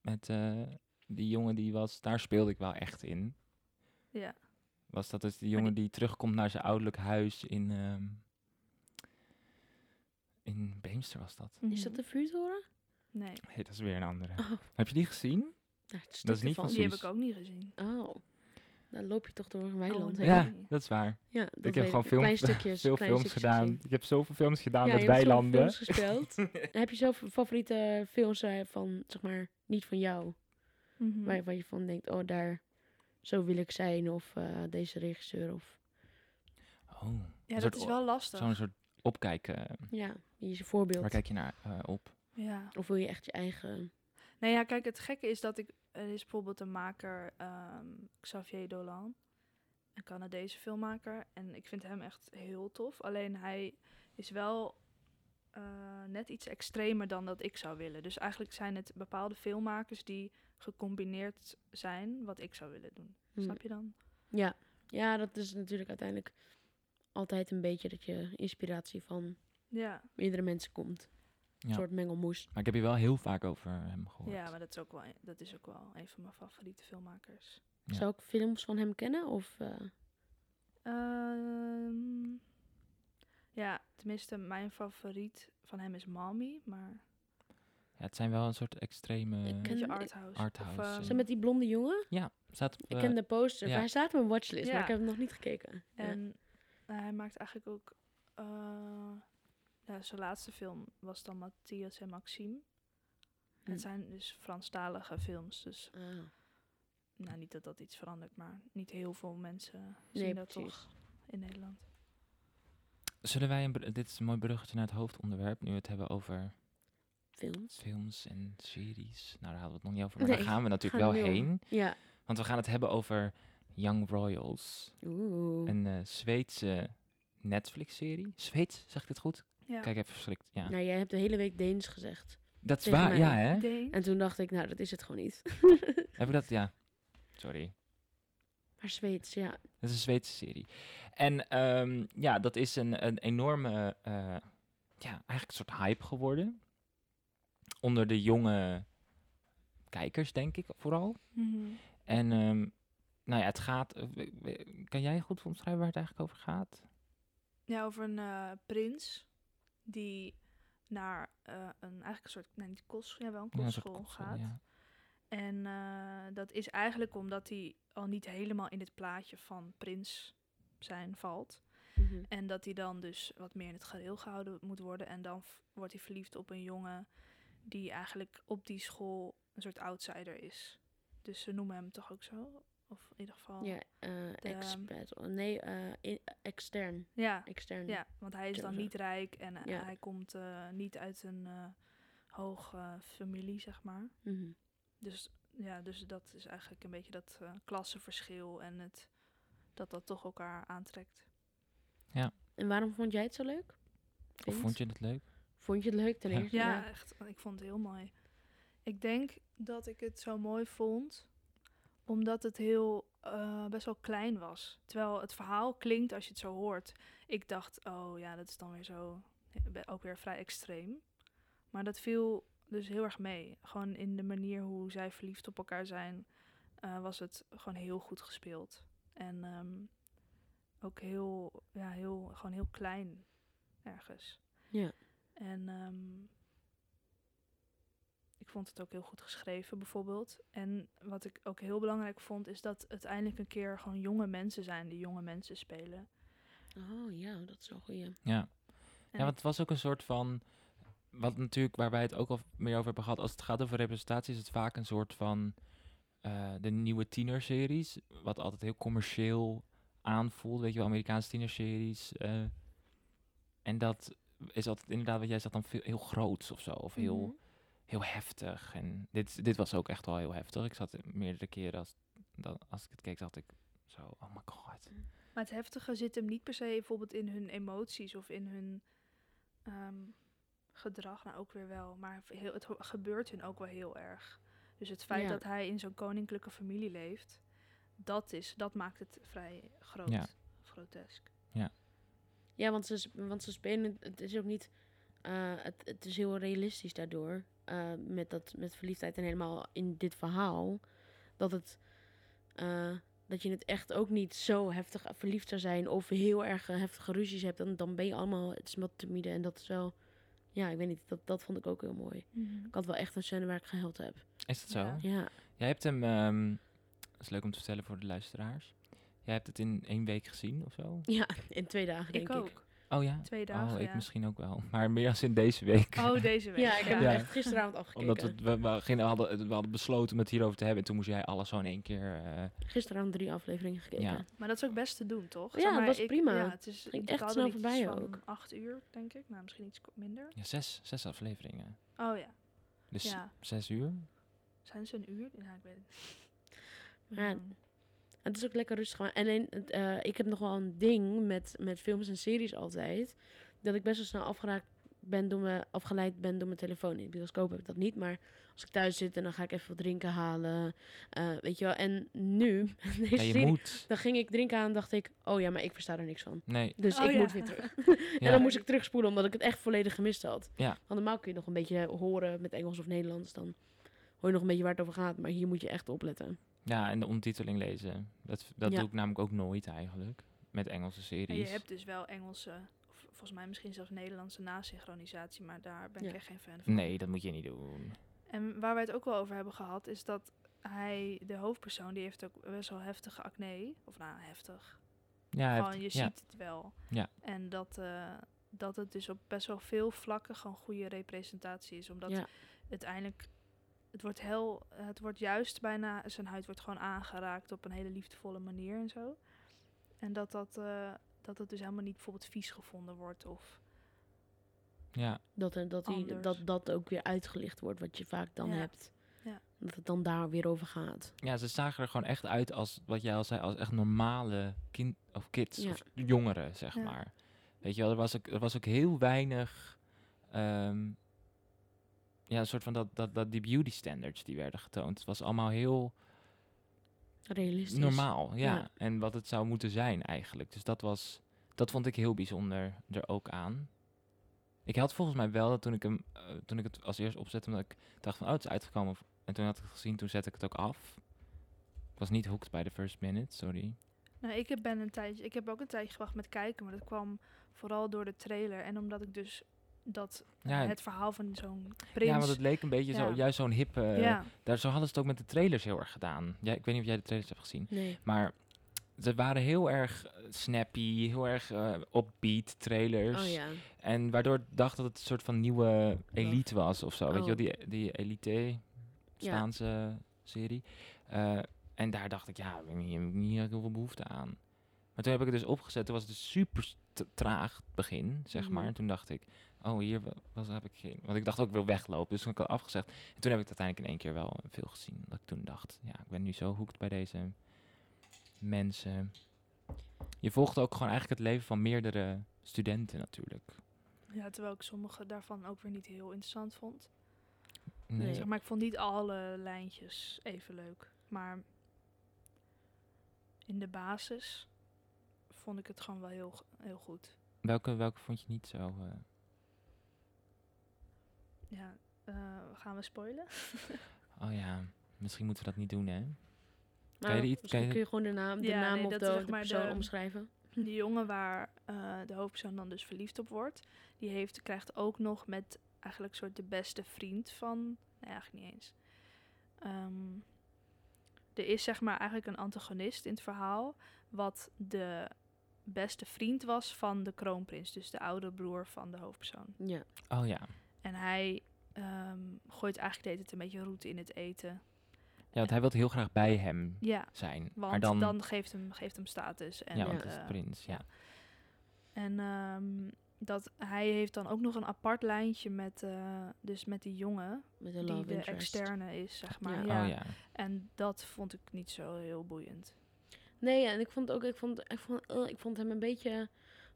met eh, die jongen die was, daar speelde ik wel echt in. Ja. Was dat dus die jongen die terugkomt naar zijn ouderlijk huis in, ehm, in Beemster was dat. Is dat de vuurtoren? Mhm. Nee, Nee, dat is weer een andere. Oh, Heb je die gezien? daar Nou, het Dat is niet ervan. van die heb Precies. ik ook niet gezien. Oh, dan loop je toch door een weiland Oh, heen. nee. Ja, dat is waar. Ja, dat ik heb weet gewoon films, Klein stukjes, veel klein films stukjes gedaan. gezien. Ik heb zoveel films gedaan Ja, met je hebt zoveel weilanden. films gespeeld. heb je zelf favoriete favoriete films eh, van, zeg maar, niet van jou? Mhm. Waar, waar je van denkt, oh, daar, zo wil ik zijn. Of eh, deze regisseur. Of, Oh, Ja, een dat soort is o- wel lastig. zo'n soort opkijken. ja, die is een voorbeeld. Waar kijk je naar eh, op? Ja. Of wil je echt je eigen... Nee, Nou ja, kijk, het gekke is dat ik... Er is bijvoorbeeld een maker, ehm, Xavier Dolan. Een Canadese filmmaker. En ik vind hem echt heel tof. Alleen hij is wel eh, net iets extremer dan dat ik zou willen. Dus eigenlijk zijn het bepaalde filmmakers die gecombineerd zijn wat ik zou willen doen. Hm. Snap je dan? Ja. ja, dat is natuurlijk uiteindelijk altijd een beetje dat je inspiratie van Ja, meerdere mensen komt. Een Ja. soort mengelmoes. Maar ik heb hier wel heel vaak over hem gehoord. ja maar dat is, ook wel, e-, dat is ook wel een van mijn favoriete filmmakers. Ja. Mm. Zou ik films van hem kennen? Of, eh, Ehm, ja, tenminste, mijn favoriet van hem is Mommy, maar Ja, het zijn wel een soort extreme... Ik een beetje En- arthouse. Arthouse, Of, ehm, eh. zijn met die blonde jongen? Ja, staat op... Ik eh, ken de poster. ja. maar Hij staat op mijn watchlist, maar Ja. ik heb hem nog niet gekeken. Ja. En nou, hij maakt eigenlijk ook... eh, ja, zijn laatste film was dan Matthias en Maxime. En Hm. het zijn dus Franstalige films, dus Ah, nou, niet dat dat iets verandert, maar niet heel veel mensen zien nee, dat precies. toch in Nederland. Zullen wij een... br- Dit is een mooi bruggetje naar het hoofdonderwerp. Nu we het hebben over Films. films en series. Nou, daar hadden we het nog niet over. Maar daar Nee, gaan we natuurlijk gaan wel we niet heen. Ja. Want we gaan het hebben over Young Royals. Oeh. Een eh, Zweedse Netflix-serie. Zweeds, zeg ik dit goed? Ja, Kijk even verschrikt. Ja. Nou, jij hebt de hele week Deens gezegd. dat is tegen waar, mij. ja hè? Deen. En toen dacht ik, nou, dat is het gewoon niet. Heb ik dat? Ja. Sorry. Maar Zweeds, ja. Dat is een Zweedse serie. En ehm, ja, dat is een, een enorme, eh, ja, eigenlijk een soort hype geworden. Onder de jonge kijkers, denk ik, vooral. Mhm. En ehm, nou ja, het gaat... eh, we- we- kan jij goed omschrijven waar het eigenlijk over gaat? Ja, over een eh, prins die naar eh, een eigenlijk een soort, nee, niet kostschool, ja, wel een Ja, een soort kostschool kostschool, gaat. ja. En eh, dat is eigenlijk omdat hij al niet helemaal in het plaatje van prins zijn valt. Mhm. En dat hij dan dus wat meer in het gareel gehouden moet worden. En dan v- wordt hij verliefd op een jongen die eigenlijk op die school een soort outsider is. Dus ze noemen hem toch ook zo? Of in ieder geval... Ja, eh expat. Nee, eh, in- extern. ja. Extern. Ja, want hij is Ja, dan zo. niet rijk en eh, Ja. hij komt eh, niet uit een eh hoge familie, zeg maar. Mhm. Dus, ja, dus dat is eigenlijk een beetje dat eh klassenverschil en het, dat dat toch elkaar aantrekt. En waarom vond jij het zo leuk? Of Vindt? vond je het leuk? Vond je het leuk ten Ja. eerste? Ja, echt. Ik vond het heel mooi. Ik denk dat ik het zo mooi vond omdat het heel eh, best wel klein was. Terwijl het verhaal klinkt als je het zo hoort. Ik dacht, oh ja, dat is dan weer zo. eh, Ook weer vrij extreem. Maar dat viel dus heel erg mee. Gewoon in de manier hoe zij verliefd op elkaar zijn, eh, was het gewoon heel goed gespeeld. En ehm, ook heel, ja, heel, gewoon heel klein ergens. Ja. En ehm, ik vond het ook heel goed geschreven, bijvoorbeeld. En wat ik ook heel belangrijk vond, is dat het eindelijk een keer gewoon jonge mensen zijn die jonge mensen spelen. Oh ja, dat is wel goed. Ja. Ja. Ja, En- want het was ook een soort van. Wat natuurlijk, waar wij het ook al meer over hebben gehad. Als het gaat over representatie, is het vaak een soort van. eh, de nieuwe tienerseries. Wat altijd heel commercieel aanvoelt. Weet je wel, Amerikaanse tienerseries. eh, en dat is altijd inderdaad wat jij zegt, dan veel, heel groots of zo. Of heel, Mhm. heel heftig. En dit, dit was ook echt wel heel heftig. Ik zat meerdere keren als, dan, als ik het keek, zat ik zo. Oh my god. Maar het heftige zit hem niet per se bijvoorbeeld in hun emoties of in hun ehm, gedrag. Nou, ook weer wel. Maar heel, het ho- gebeurt hun ook wel heel erg. Dus het feit Ja. dat hij in zo'n koninklijke familie leeft, dat, is, dat maakt het vrij groot. Ja. Grotesk. Ja, want ze, want ze spelen. Het is ook niet. eh, het, het is heel realistisch daardoor. eh, met, dat, met verliefdheid en helemaal in dit verhaal. Dat het. eh, dat je het echt ook niet zo heftig verliefd zou zijn. Of heel erg eh, heftige ruzies hebt. Dan, dan ben je allemaal. Het is wat timide. En dat is wel. Ja, ik weet niet. Dat, dat vond ik ook heel mooi. Ik had wel echt een scène waar ik gehuild heb. Is dat zo? Ja. Ja. Jij hebt hem, ehm, dat is leuk om te vertellen voor de luisteraars. Jij hebt het in één week gezien of zo? Ja, in twee dagen denk Ik ik. ook. Oh ja? Twee dagen, oh, ik ja. misschien ook wel. Maar meer als in deze week. Oh, deze week. Ja, ik heb Ja. hem echt gisteravond afgekeken. Omdat we, we, we gingen- hadden, we hadden besloten om het hierover te hebben. En toen moest jij alles zo in één keer... eh, Gisteravond drie afleveringen gekeken. Ja. Maar dat is ook best te doen, toch? Ja, het was prima. Ja, het is, Ging ik echt had er snel iets voorbij van ook. acht uur, denk ik. Nou, misschien iets ko- minder. ja, zes, zes afleveringen. Oh ja. Dus Ja. zes uur. Zijn ze een uur? Ja, ik weet het niet. Ja. Mm. Het is ook lekker rustig. maar- En in- het, eh, ik heb nog wel een ding met, met films en series altijd. Dat ik best wel snel afgeraakt ben door mijn, afgeleid ben door mijn telefoon. In de bioscoop heb ik dat niet. Maar als ik thuis zit en dan ga ik even wat drinken halen. eh, weet je wel. En nu, met deze Ja, je serie, moet. dan ging ik drinken aan en dacht ik... Oh ja, maar ik versta er niks van. Nee. Dus Oh ik ja. moet weer terug. En Ja. dan moest ik terugspoelen omdat ik het echt volledig gemist had. Ja. Want normaal kun je nog een beetje horen met Engels of Nederlands. Dan hoor je nog een beetje waar het over gaat. Maar hier moet je echt opletten. Ja, en de ondertiteling lezen. Dat, dat Ja. doe ik namelijk ook nooit eigenlijk. Met Engelse En je series. hebt dus wel Engelse, of volgens mij misschien zelfs Nederlandse nasynchronisatie, maar daar ben ik Ja. echt geen fan van. Nee, dat moet je niet doen. En waar wij het ook wel over hebben gehad, is dat hij, de hoofdpersoon, die heeft ook best wel heftige acne. Of nou, heftig. Ja, hij Gewoon, je heeft- ja. ziet het wel. Ja. En dat, eh, dat het dus op best wel veel vlakken gewoon goede representatie is. Omdat Ja. uiteindelijk, het wordt heel, het wordt juist bijna, zijn huid wordt gewoon aangeraakt op een hele liefdevolle manier en zo. En dat dat, eh, dat het dus helemaal niet bijvoorbeeld vies gevonden wordt of... ja. Dat, er- dat, die, Anders. dat dat ook weer uitgelicht wordt, wat je vaak dan Ja. hebt. Ja. Dat het dan daar weer over gaat. Ja, ze zagen er gewoon echt uit als, wat jij al zei, als echt normale kind of kids Ja. of jongeren, zeg Ja. maar. Weet je wel, er was ook, er was ook heel weinig, ehm, ja, een soort van dat, dat, dat, die beauty standards die werden getoond. Het was allemaal heel Realistisch. normaal, ja. Ja. En wat het zou moeten zijn eigenlijk. Dus dat was, dat vond ik heel bijzonder er ook aan. Ik had volgens mij wel dat toen ik hem, eh, toen ik het als eerst opzette, omdat ik dacht van, oh, het is uitgekomen En toen had ik het gezien, toen zette ik het ook af. Ik was niet hooked bij de first minute, sorry. Nou, ik heb, ben een tijdje, ik heb ook een tijdje gewacht met kijken, maar dat kwam vooral door de trailer. En omdat ik dus dat, Ja, het verhaal van zo'n prins... ja want het eh, leek een beetje zo, Ja. juist zo'n hippe... ja. Daar, zo hadden ze het ook met de trailers heel erg gedaan. Ja, ik weet niet of jij de trailers hebt gezien. Nee. Maar ze waren heel erg eh, snappy, heel erg eh, upbeat trailers. Oh ja. En waardoor ik dacht dat het een soort van nieuwe elite was of zo. Weet je Oh. wel, die, die elite Spaanse serie. Eh, en daar dacht ik, ja, ik heb hier niet heel veel behoefte aan. Maar toen heb ik het dus opgezet. Toen was het dus super s- t- traag het begin, zeg Mhm. maar. En toen dacht ik, oh, hier wa- was, heb ik geen... Want ik dacht ook, ik wil weglopen. Dus toen heb ik al afgezegd. En toen heb ik het uiteindelijk in één keer wel veel gezien. Omdat ik toen dacht, ja, ik ben nu zo hoekt bij deze mensen. Je volgt ook gewoon eigenlijk het leven van meerdere studenten natuurlijk. Ja, terwijl ik sommige daarvan ook weer niet heel interessant vond. Nee. Nee. Zeg maar ik vond niet alle lijntjes even leuk. Maar in de basis vond ik het gewoon wel heel, g- heel goed. Welke, welke vond je niet zo? eh? Ja, eh, gaan we spoilen? oh ja, misschien moeten we dat niet doen, hè? Maar je er iets- Nou, misschien kan je- kun je gewoon de naam, de Ja, naam nee, of de, dat is zeg de maar persoon de- omschrijven. Die jongen waar eh, de hoofdpersoon dan dus verliefd op wordt, die heeft, krijgt ook nog met eigenlijk soort de beste vriend van. Nee, eigenlijk niet eens. Ehm, er is zeg maar eigenlijk een antagonist in het verhaal, wat de beste vriend was van de kroonprins, dus de oude broer van de hoofdpersoon. Ja. Oh ja. En hij ehm, gooit eigenlijk deed het een beetje roet in het eten. Ja, want hij wil heel graag bij hem Ja, zijn. maar want dan, dan, geeft, hem, geeft hem status. En ja, Ja. want het is de eh, prins, ja. En ehm, dat hij heeft dan ook nog een apart lijntje met, eh, dus met die jongen, Met een die love de interest. externe is, zeg maar. Ja. Ja. Oh ja. En dat vond ik niet zo heel boeiend. Nee, ja, en ik vond ook, ik vond, ik vond, eh, ik vond hem een beetje...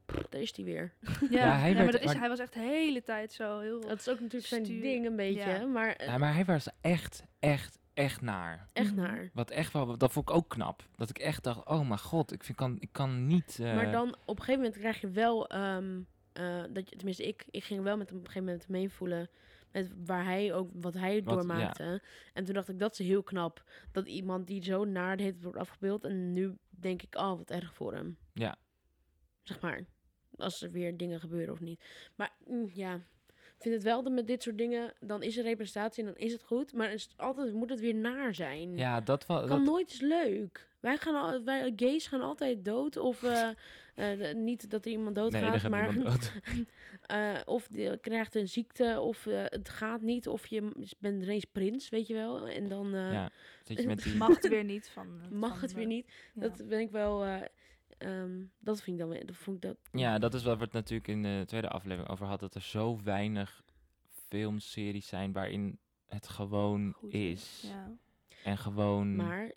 Pff, daar is hij weer. Ja, hij nee, werd- maar, dat is, maar- hij was echt de hele tijd zo heel... Dat is ook natuurlijk zijn Stuur- ding een beetje, ja. maar eh, ja. Maar hij was echt, echt, echt naar. echt Mhm. naar. Wat echt wel, dat vond ik ook knap. Dat ik echt dacht, oh mijn god, ik, vind, kan, ik kan niet... eh, Maar dan op een gegeven moment krijg je wel, ehm, eh, dat je, tenminste ik, ik ging wel met hem op een gegeven moment meevoelen met waar hij ook, wat hij Wat- doormaakte. En toen dacht ik, dat is heel knap, dat iemand die zo naar de heeft wordt afgebeeld. En nu denk ik, oh, wat erg voor hem. Ja. Zeg maar, als er weer dingen gebeuren of niet. Maar mm, ja, ik vind het wel dat met dit soort dingen, dan is er representatie en dan is het goed. Maar is het altijd moet het weer naar zijn. Ja, dat was... kan nooit eens leuk. Wij, gaan al, wij gays gaan altijd dood. Of eh, eh, niet dat er iemand nee, daar doodgaat, gaat maar niemand dood. eh, of je krijgt een ziekte, of eh, het gaat niet, of je m- bent ineens prins, weet je wel. En dan eh, Ja, zit je met die... Mag het weer niet van... eh, mag van het de- weer niet. ja. Dat ben ik wel. eh, ehm, dat vind ik dan weer. Dat vond ik dat. Ja, dat is wat we het natuurlijk in de tweede aflevering over hadden. Dat er zo weinig filmseries zijn waarin het gewoon Goed is. Ja. En gewoon... Maar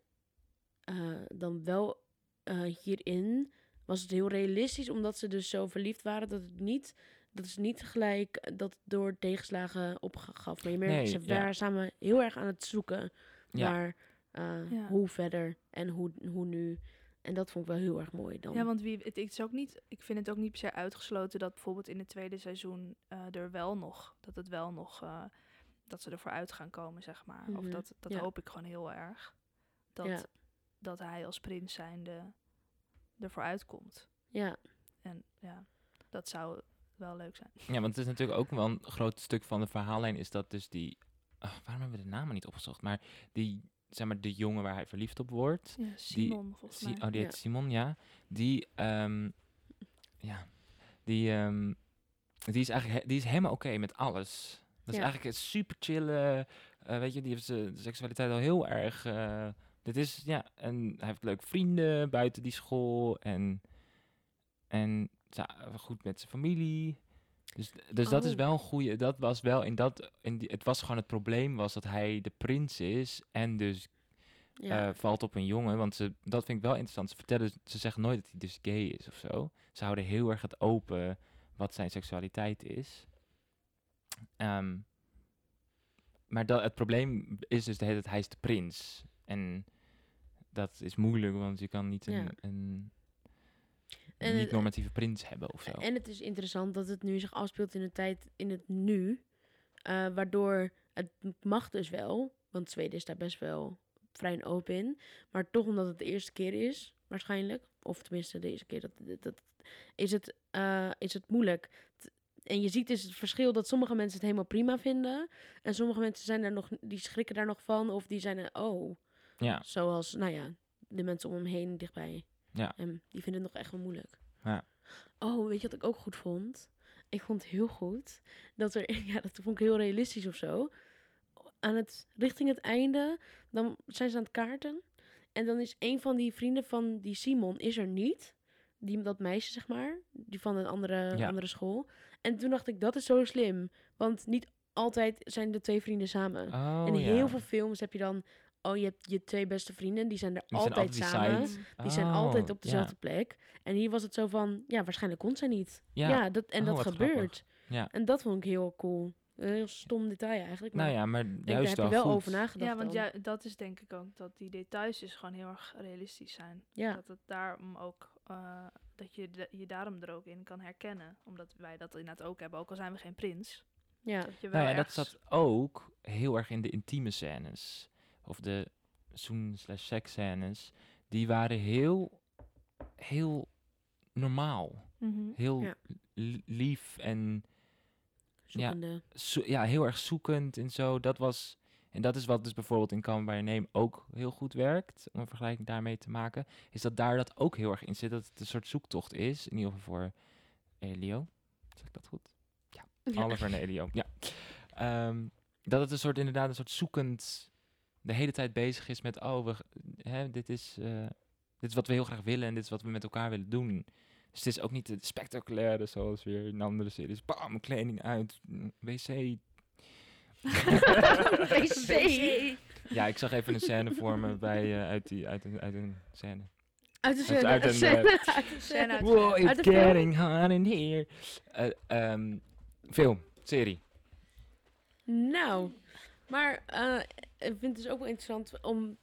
eh, dan wel eh, hierin was het heel realistisch, omdat ze dus zo verliefd waren dat het niet. Dat is niet gelijk eh, dat het door tegenslagen opgaf. Maar je merkt, Nee, ze ja. waren samen heel erg aan het zoeken Ja. naar eh, Ja. hoe verder en hoe, hoe nu. En dat vond ik wel heel erg mooi dan. Ja, want wie, het, is ook niet, ik vind het ook niet per se uitgesloten dat bijvoorbeeld in het tweede seizoen eh, er wel nog, dat het wel nog, eh, dat ze ervoor uit gaan komen, zeg maar. Mhm, Of dat, dat ja. hoop ik gewoon heel erg. Dat, Ja. dat hij als prins zijnde ervoor uitkomt. ja. En ja, dat zou wel leuk zijn. Ja, want het is natuurlijk ook wel een groot stuk van de verhaallijn is dat dus die... Ah, waarom hebben we de namen niet opgezocht? Maar die, zeg maar, de jongen waar hij verliefd op wordt. Ja, Simon, volgens Si- mij. oh, die heet Ja. Simon, ja. Die, ehm, ja, die, ehm, die is eigenlijk, he- die is helemaal oké met alles. Dat is Ja. eigenlijk een super chille, eh, weet je, die heeft zijn seksualiteit al heel erg. eh, dit is, ja, en hij heeft leuke vrienden buiten die school en, en za- goed met zijn familie. Dus, dus dat is Oh. wel een goede, dat was wel in dat, in die, het was gewoon het probleem was dat hij de prins is en dus ja. eh, valt op een jongen. Want ze, dat vind ik wel interessant. Ze, vertellen, ze zeggen nooit dat hij dus gay is of zo. Ze houden heel erg het open wat zijn seksualiteit is. Ehm, maar dat, het probleem is dus de hele tijd, hij is de prins. En dat is moeilijk, want je kan niet een, Ja. een En het- niet-normatieve prins hebben of zo. En het is interessant dat het nu zich afspeelt in de tijd, in het nu. eh, waardoor het mag dus wel, Want Zweden is daar best wel vrij en open in. Maar toch omdat het de eerste keer is, waarschijnlijk. Of tenminste de eerste keer. Dat, dat, dat- is, het, eh, is het moeilijk. T- En je ziet dus het verschil dat sommige mensen het helemaal prima vinden. En sommige mensen zijn daar nog, die schrikken daar nog van. Of die zijn er, oh. Ja. Zoals, nou ja, de mensen om hem heen dichtbij. Ja. Hem, die vinden het nog echt wel moeilijk. Ja. Oh, weet je wat ik ook goed vond? Ik vond heel goed dat er, ja, dat vond ik heel realistisch of zo. Aan het, richting het einde, dan zijn ze aan het kaarten. En dan is een van die vrienden van die Simon, is er niet. Die, dat meisje, zeg maar. Die van een andere, Ja. andere school. En toen dacht ik, dat is zo slim. Want niet altijd zijn de twee vrienden samen. Oh, In ja. heel veel films heb je dan... Oh, je hebt je twee beste vrienden. Die zijn er zijn altijd, altijd die samen. sides. Die zijn altijd op Oh, ja. dezelfde plek. En hier was het zo van... Ja, waarschijnlijk kon zij niet. Ja, Ja. dat, en Oh, dat wat gebeurt. grappig. Ja. En dat vond ik heel cool. Een heel stom detail eigenlijk. Maar Nou ja, maar ik denk, juist daar heb wel je wel goed. over nagedacht Ja, want dan. ja, dat is denk ik ook dat die details dus gewoon heel erg realistisch zijn. Ja, Dat het daarom ook, eh, dat je de- je daarom er ook in kan herkennen. Omdat wij dat inderdaad ook hebben, ook al zijn we geen prins. ja. Dat je wel Nou ja, en dat ergens- zat ook heel erg in de intieme scènes. Of de zoen slash seks scènes. Die waren heel, heel normaal. Mhm. Heel Ja. l- lief en Zoekende. zo- ja, heel erg zoekend en zo. Dat was, en dat is wat dus bijvoorbeeld in Come By Your Name ook heel goed werkt. Om een vergelijking daarmee te maken. Is dat daar dat ook heel erg in zit. Dat het een soort zoektocht is. In ieder geval voor Elio. Zeg ik dat goed? Ja. Oliver en Elio. Ja. Ehm, dat het een soort inderdaad een soort zoekend de hele tijd bezig is met oh we, g- hè, dit is eh, dit is wat we heel graag willen en dit is wat we met elkaar willen doen. Dus het is ook niet het spectaculaire zoals weer in andere series. Bam, kleding uit, mm, wc. wc. Ja, ik zag even een scène voor me bij, eh, uit, die, uit, een, uit een scène. Uit Het is de scène. uit een, eh, scène, uit de scène. Uit- Wow, uit it's de film? getting hot in here. Eh, ehm, film, serie. Nou, maar eh, ik vind het dus ook wel interessant om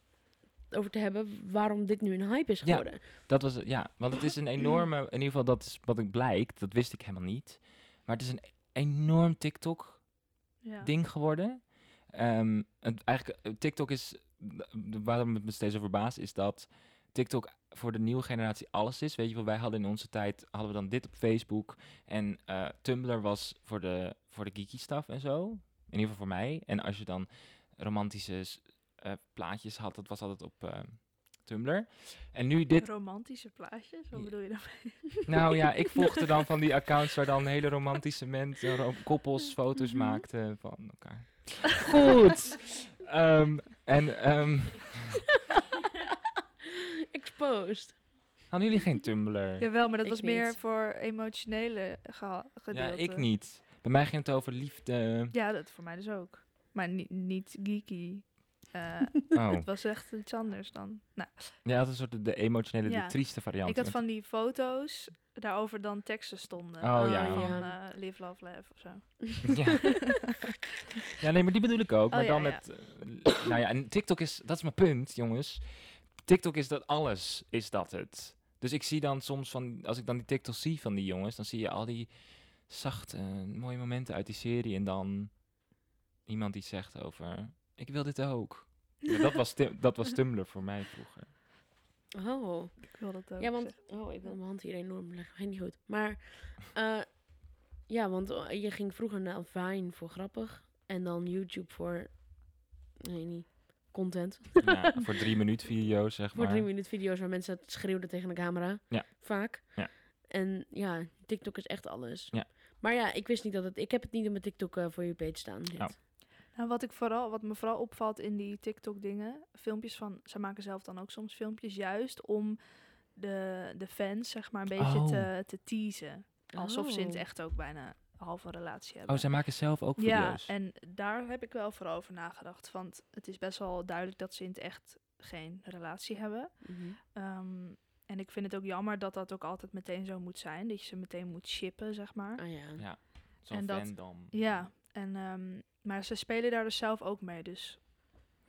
over te hebben waarom dit nu een hype is Ja. geworden. Dat was het, ja. Want het is een enorme, in ieder geval dat is wat ik blijkt, dat wist ik helemaal niet. Maar het is een enorm TikTok-ding Ja. geworden. Ehm, het, eigenlijk, eh, TikTok is, waarom het me steeds zo verbaast, is dat TikTok voor de nieuwe generatie alles is. Weet je wel, wij hadden in onze tijd, hadden we dan dit op Facebook. En eh, Tumblr was voor de, voor de geeky stuff en zo. In ieder geval voor mij. En als je dan romantische s- eh, plaatjes had, dat was altijd op eh, Tumblr. En nu dit Romantische plaatjes, wat Ja. bedoel je daarmee? nou ja, ik volgde dan van die accounts waar dan hele romantische mensen, ro- koppels, foto's maakten van elkaar. Goed. Ehm, en ehm, Exposed. hadden jullie geen Tumblr? Jawel, maar dat Ik was meer niet. voor emotionele geha- Ja, gedeelte. ik niet. Bij mij ging het over liefde. Ja, dat voor mij dus ook. Maar ni- niet geeky. Eh, Oh, Het was echt iets anders dan. Nou, ja, dat is een soort de emotionele, Ja. de trieste variant. ik had van die foto's daarover dan teksten stonden. Oh, ja. Van Ja. eh, Live, Love, Laugh of zo. Ja. ja, nee, maar die bedoel ik ook. maar Oh, ja, dan ja. met... eh, nou ja, en TikTok is... Dat is mijn punt, jongens. TikTok is dat alles, is dat het. Dus ik zie dan soms van... Als ik dan die TikTok zie van die jongens, dan zie je al die zachte, mooie momenten uit die serie. En dan iemand die zegt over... Ik wil dit ook. Ja, dat, was Tim- dat was Tumblr voor mij vroeger. Oh. Ik wil dat ook. Ja, want... zeggen. Oh, ik wil mijn hand hier enorm leggen. Geen niet goed. Maar... eh, ja, want eh, je ging vroeger naar Vine voor grappig. En dan YouTube voor... Nee, niet. Content. Ja, voor drie minuut video's, zeg Voor maar. drie minuten video's waar mensen schreeuwden tegen de camera. Ja. Vaak. Ja. En ja, TikTok is echt alles. Ja. Maar ja, ik wist niet dat het... Ik heb het niet op mijn TikTok eh, voor je page staan. dit. Oh. Nou, wat, ik vooral, wat me vooral opvalt in die TikTok-dingen, filmpjes van. Zij maken zelf dan ook soms filmpjes, juist om de, de fans, zeg maar, een beetje Oh. te, te teasen. Alsof ze in het Oh. echt ook bijna half een relatie hebben. Oh, zij maken zelf ook Ja, video's. en daar heb ik wel voor over nagedacht. Want het is best wel duidelijk dat ze in het echt geen relatie hebben. Mhm. Ehm, en ik vind het ook jammer dat dat ook altijd meteen zo moet zijn. Dat je ze meteen moet shippen, zeg maar. Ah ja. Ja. Zo'n en dat- fandom. Ja, en, ehm, maar ze spelen daar dus zelf ook mee. Dus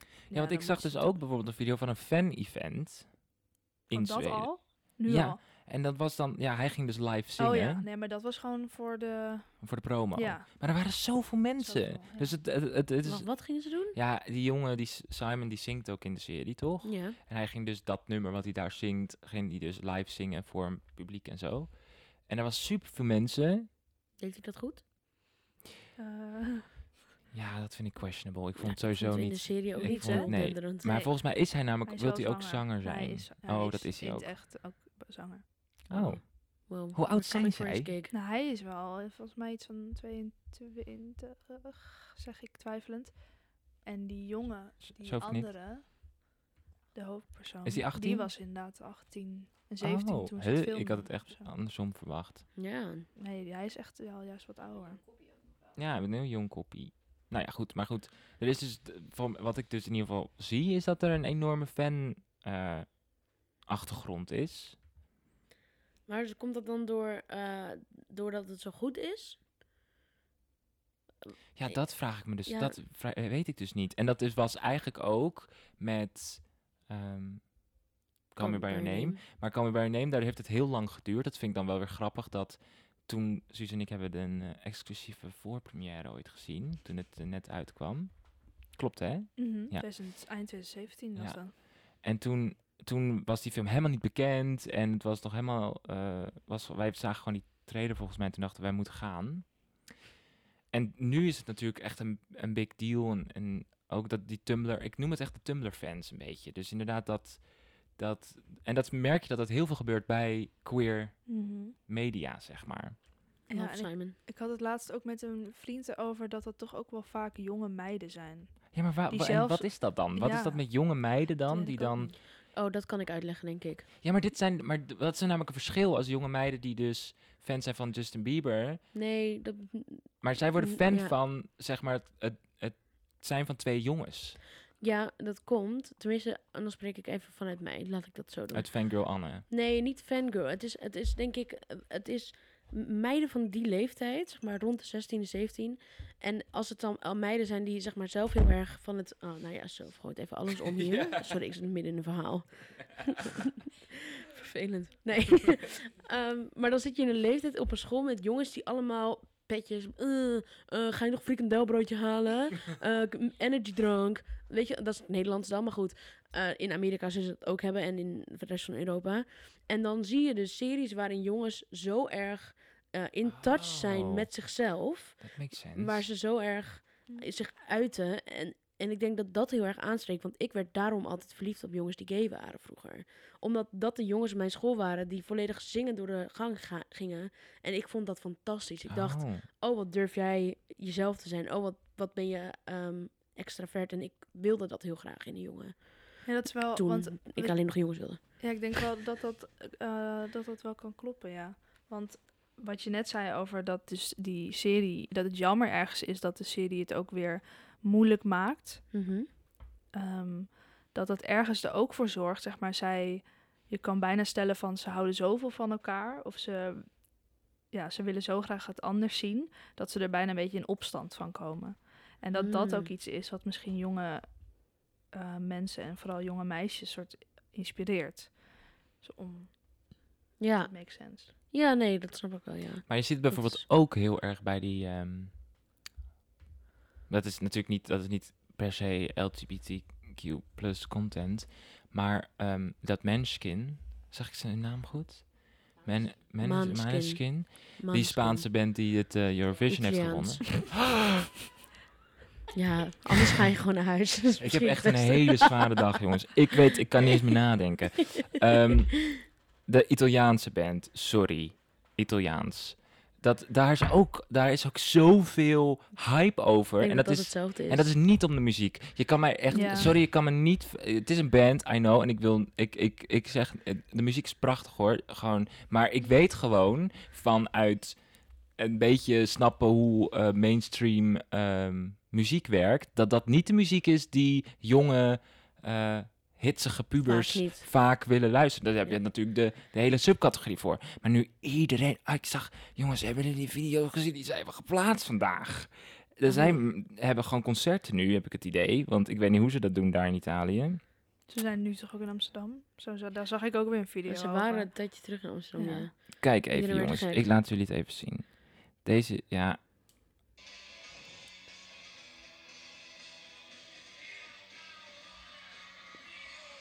Ja, want dan ik zag moeten dus ze ook bijvoorbeeld een video van een fan-event in Want Oh, dat Zweden. al? Nu Ja. al? En dat was dan, ja, hij ging dus live zingen Oh ja, nee, maar dat was gewoon voor de... voor de promo. Ja, Maar er waren zoveel mensen. Zoveel, ja. Dus het, het, het, het Wa- is. Wat gingen ze doen? Ja, die jongen, die S- Simon, die zingt ook in de serie, toch? Ja. En hij ging dus dat nummer wat hij daar zingt, ging die dus live zingen voor een publiek en zo. En er was super veel mensen. Deed ik dat goed? Eh, Ja, dat vind ik questionable. Ik vond Ja, het sowieso vond het niet. In de serie ook ik niet vond zo het- nee. denderend. Maar Nee. volgens mij is hij namelijk, hij is wil wel hij ook zanger zijn? Hij is, hij oh, dat is hij in ook. het echt ook b- zanger. Oh, Wow. Hoe oud zijn Coming for his zij? cake. Nou, hij is wel eh, volgens mij iets van 22, zeg ik twijfelend. En die jongen, Z- die zo of niet? andere, de hoofdpersoon, Is die 18? die was inderdaad 18 en 17 oh. toen ze huh, het ik had het filmden of echt zo. andersom verwacht. Ja. Nee, hij is echt wel juist wat ouder. Ja, een heel jong koppie. Nou ja, goed. Maar goed, er is dus, d- van wat ik dus in ieder geval zie, is dat er een enorme fan-achtergrond is. Maar dus komt dat dan door, eh, doordat het zo goed is? Ja, Eh, dat vraag ik me dus. ja. Dat vra- eh, weet ik dus niet. En dat is, was eigenlijk ook met ehm Call Oh, Me By Your Name. Maar Call Me By Your Name, daar heeft het heel lang geduurd. Dat vind ik dan wel weer grappig, dat toen Suus en ik hebben een eh, exclusieve voorpremière ooit gezien, toen het eh, net uitkwam. Klopt, hè? Mhm, Ja. 2000 eind 2017 was Ja. dan. En toen, toen was die film helemaal niet bekend en het was nog helemaal... eh, was, wij zagen gewoon die trailer volgens mij en toen dachten we, wij moeten gaan. En nu is het natuurlijk echt een, een big deal en, en ook dat die Tumblr... Ik noem het echt de Tumblr-fans een beetje. Dus inderdaad dat... dat en dat merk je dat dat heel veel gebeurt bij queer Mhm. media, zeg maar. Ja, Ja, en ik, Simon. ik had het laatst ook met een vriend erover dat dat toch ook wel vaak jonge meiden zijn. Ja, maar wa- Die wa- en zelfs- wat is dat dan? Wat is Ja. dat met jonge meiden Dat dan? weet Die ik ook dan... niet. Oh, dat kan ik uitleggen, denk ik. Ja, maar dit zijn... Maar d- dat zijn namelijk een verschil als jonge meiden die dus fan zijn van Justin Bieber... Nee, dat... Maar zij worden Mm, fan ja. van, zeg maar, het, het, het zijn van twee jongens ja, dat komt. Tenminste, anders spreek ik even vanuit mij. Laat ik dat zo doen. uit Fangirl Anne. Nee, niet fangirl. Het is, het is denk ik, eh, het is m- meiden van die leeftijd, zeg maar rond de 16, 17. En als het dan al meiden zijn die zeg maar zelf heel erg van het, oh, nou ja, zo gooit even alles om hier. Sorry, ik zit midden in een verhaal. Vervelend. Nee. Ehm, maar dan zit je in een leeftijd op een school met jongens die allemaal petjes, eh, eh, ga je nog frikandelbroodje halen? Eh, k- m- energydrank. Weet je, dat is Nederlands dan, maar goed. Eh, in Amerika zullen ze het ook hebben en in de rest van Europa. En dan zie je dus series waarin jongens zo erg eh, in touch zijn Oh. met zichzelf. Dat makes sense. Waar ze zo erg eh, zich uiten. En, en ik denk dat dat heel erg aanspreekt. Want ik werd daarom altijd verliefd op jongens die gay waren vroeger. Omdat dat de jongens in mijn school waren die volledig zingend door de gang ga- gingen. En ik vond dat fantastisch. Ik dacht, Oh. oh wat durf jij jezelf te zijn. Oh wat, wat ben je ehm extravert. En ik wilde dat heel graag in een jongen. Ja, dat is wel, Toen want Oh, ik alleen nog jongens wilde. ja, ik denk wel dat dat, eh, dat dat wel kan kloppen, ja. Want wat je net zei over dat dus die serie, dat het jammer ergens is dat de serie het ook weer moeilijk maakt. Mhm. ehm, dat dat ergens er ook voor zorgt, zeg maar, zij, je kan bijna stellen van ze houden zoveel van elkaar of ze, ja, ze willen zo graag het anders zien, dat ze er bijna een beetje in opstand van komen. En dat dat Mm. Hmm. ook iets is wat misschien jonge eh, mensen en vooral jonge meisjes soort inspireert. Dus om, Ah. Ja. it makes sense. ja, nee, dat snap ik wel, ja. Maar je ziet het bijvoorbeeld is- ook heel erg bij die... ehm, dat is natuurlijk niet, dat is niet per se LGBTQ plus content. Maar ehm, dat Manskin, zag ik zijn naam goed? Man, man, Maneskin. Maneskin. Die Manskin. Spaanse band die het eh, Eurovision heeft Italiaans. gewonnen. Ja, anders ga je gewoon naar huis. Dat is Ik heb misschien echt het een hele zware dag, jongens. Ik weet, ik kan niet eens meer nadenken. Ehm, de Italiaanse band, sorry, Italiaans. Dat, daar, is ook, daar is ook zoveel hype over. beste. Ik En denk dat, dat is, hetzelfde is. en dat is niet om de muziek. Je kan mij echt, Ja. sorry, je kan me niet. Het is een band, I know. En ik wil, ik, ik, ik zeg, eh, de muziek is prachtig hoor. Gewoon, maar ik weet gewoon vanuit een beetje snappen hoe eh, mainstream ehm, muziek werkt, dat dat niet de muziek is die jonge. eh, hitsige pubers Vaak vaak, niet. willen luisteren. Daar heb je Ja. natuurlijk de, de hele subcategorie voor. Maar nu iedereen... Ah, ik zag... Jongens, hebben jullie die video gezien? Die zijn we geplaatst vandaag. Oh. Er zijn, hebben gewoon concerten nu, heb ik het idee. Want ik weet niet hoe ze dat doen daar in Italië. Ze zijn nu toch ook in Amsterdam? Zo, zo- daar zag ik ook weer een video Ze over. waren een tijdje terug in Amsterdam, Ja. ja. Kijk Iedereen even, werd jongens. gek. Ik laat jullie het even zien. Deze, ja.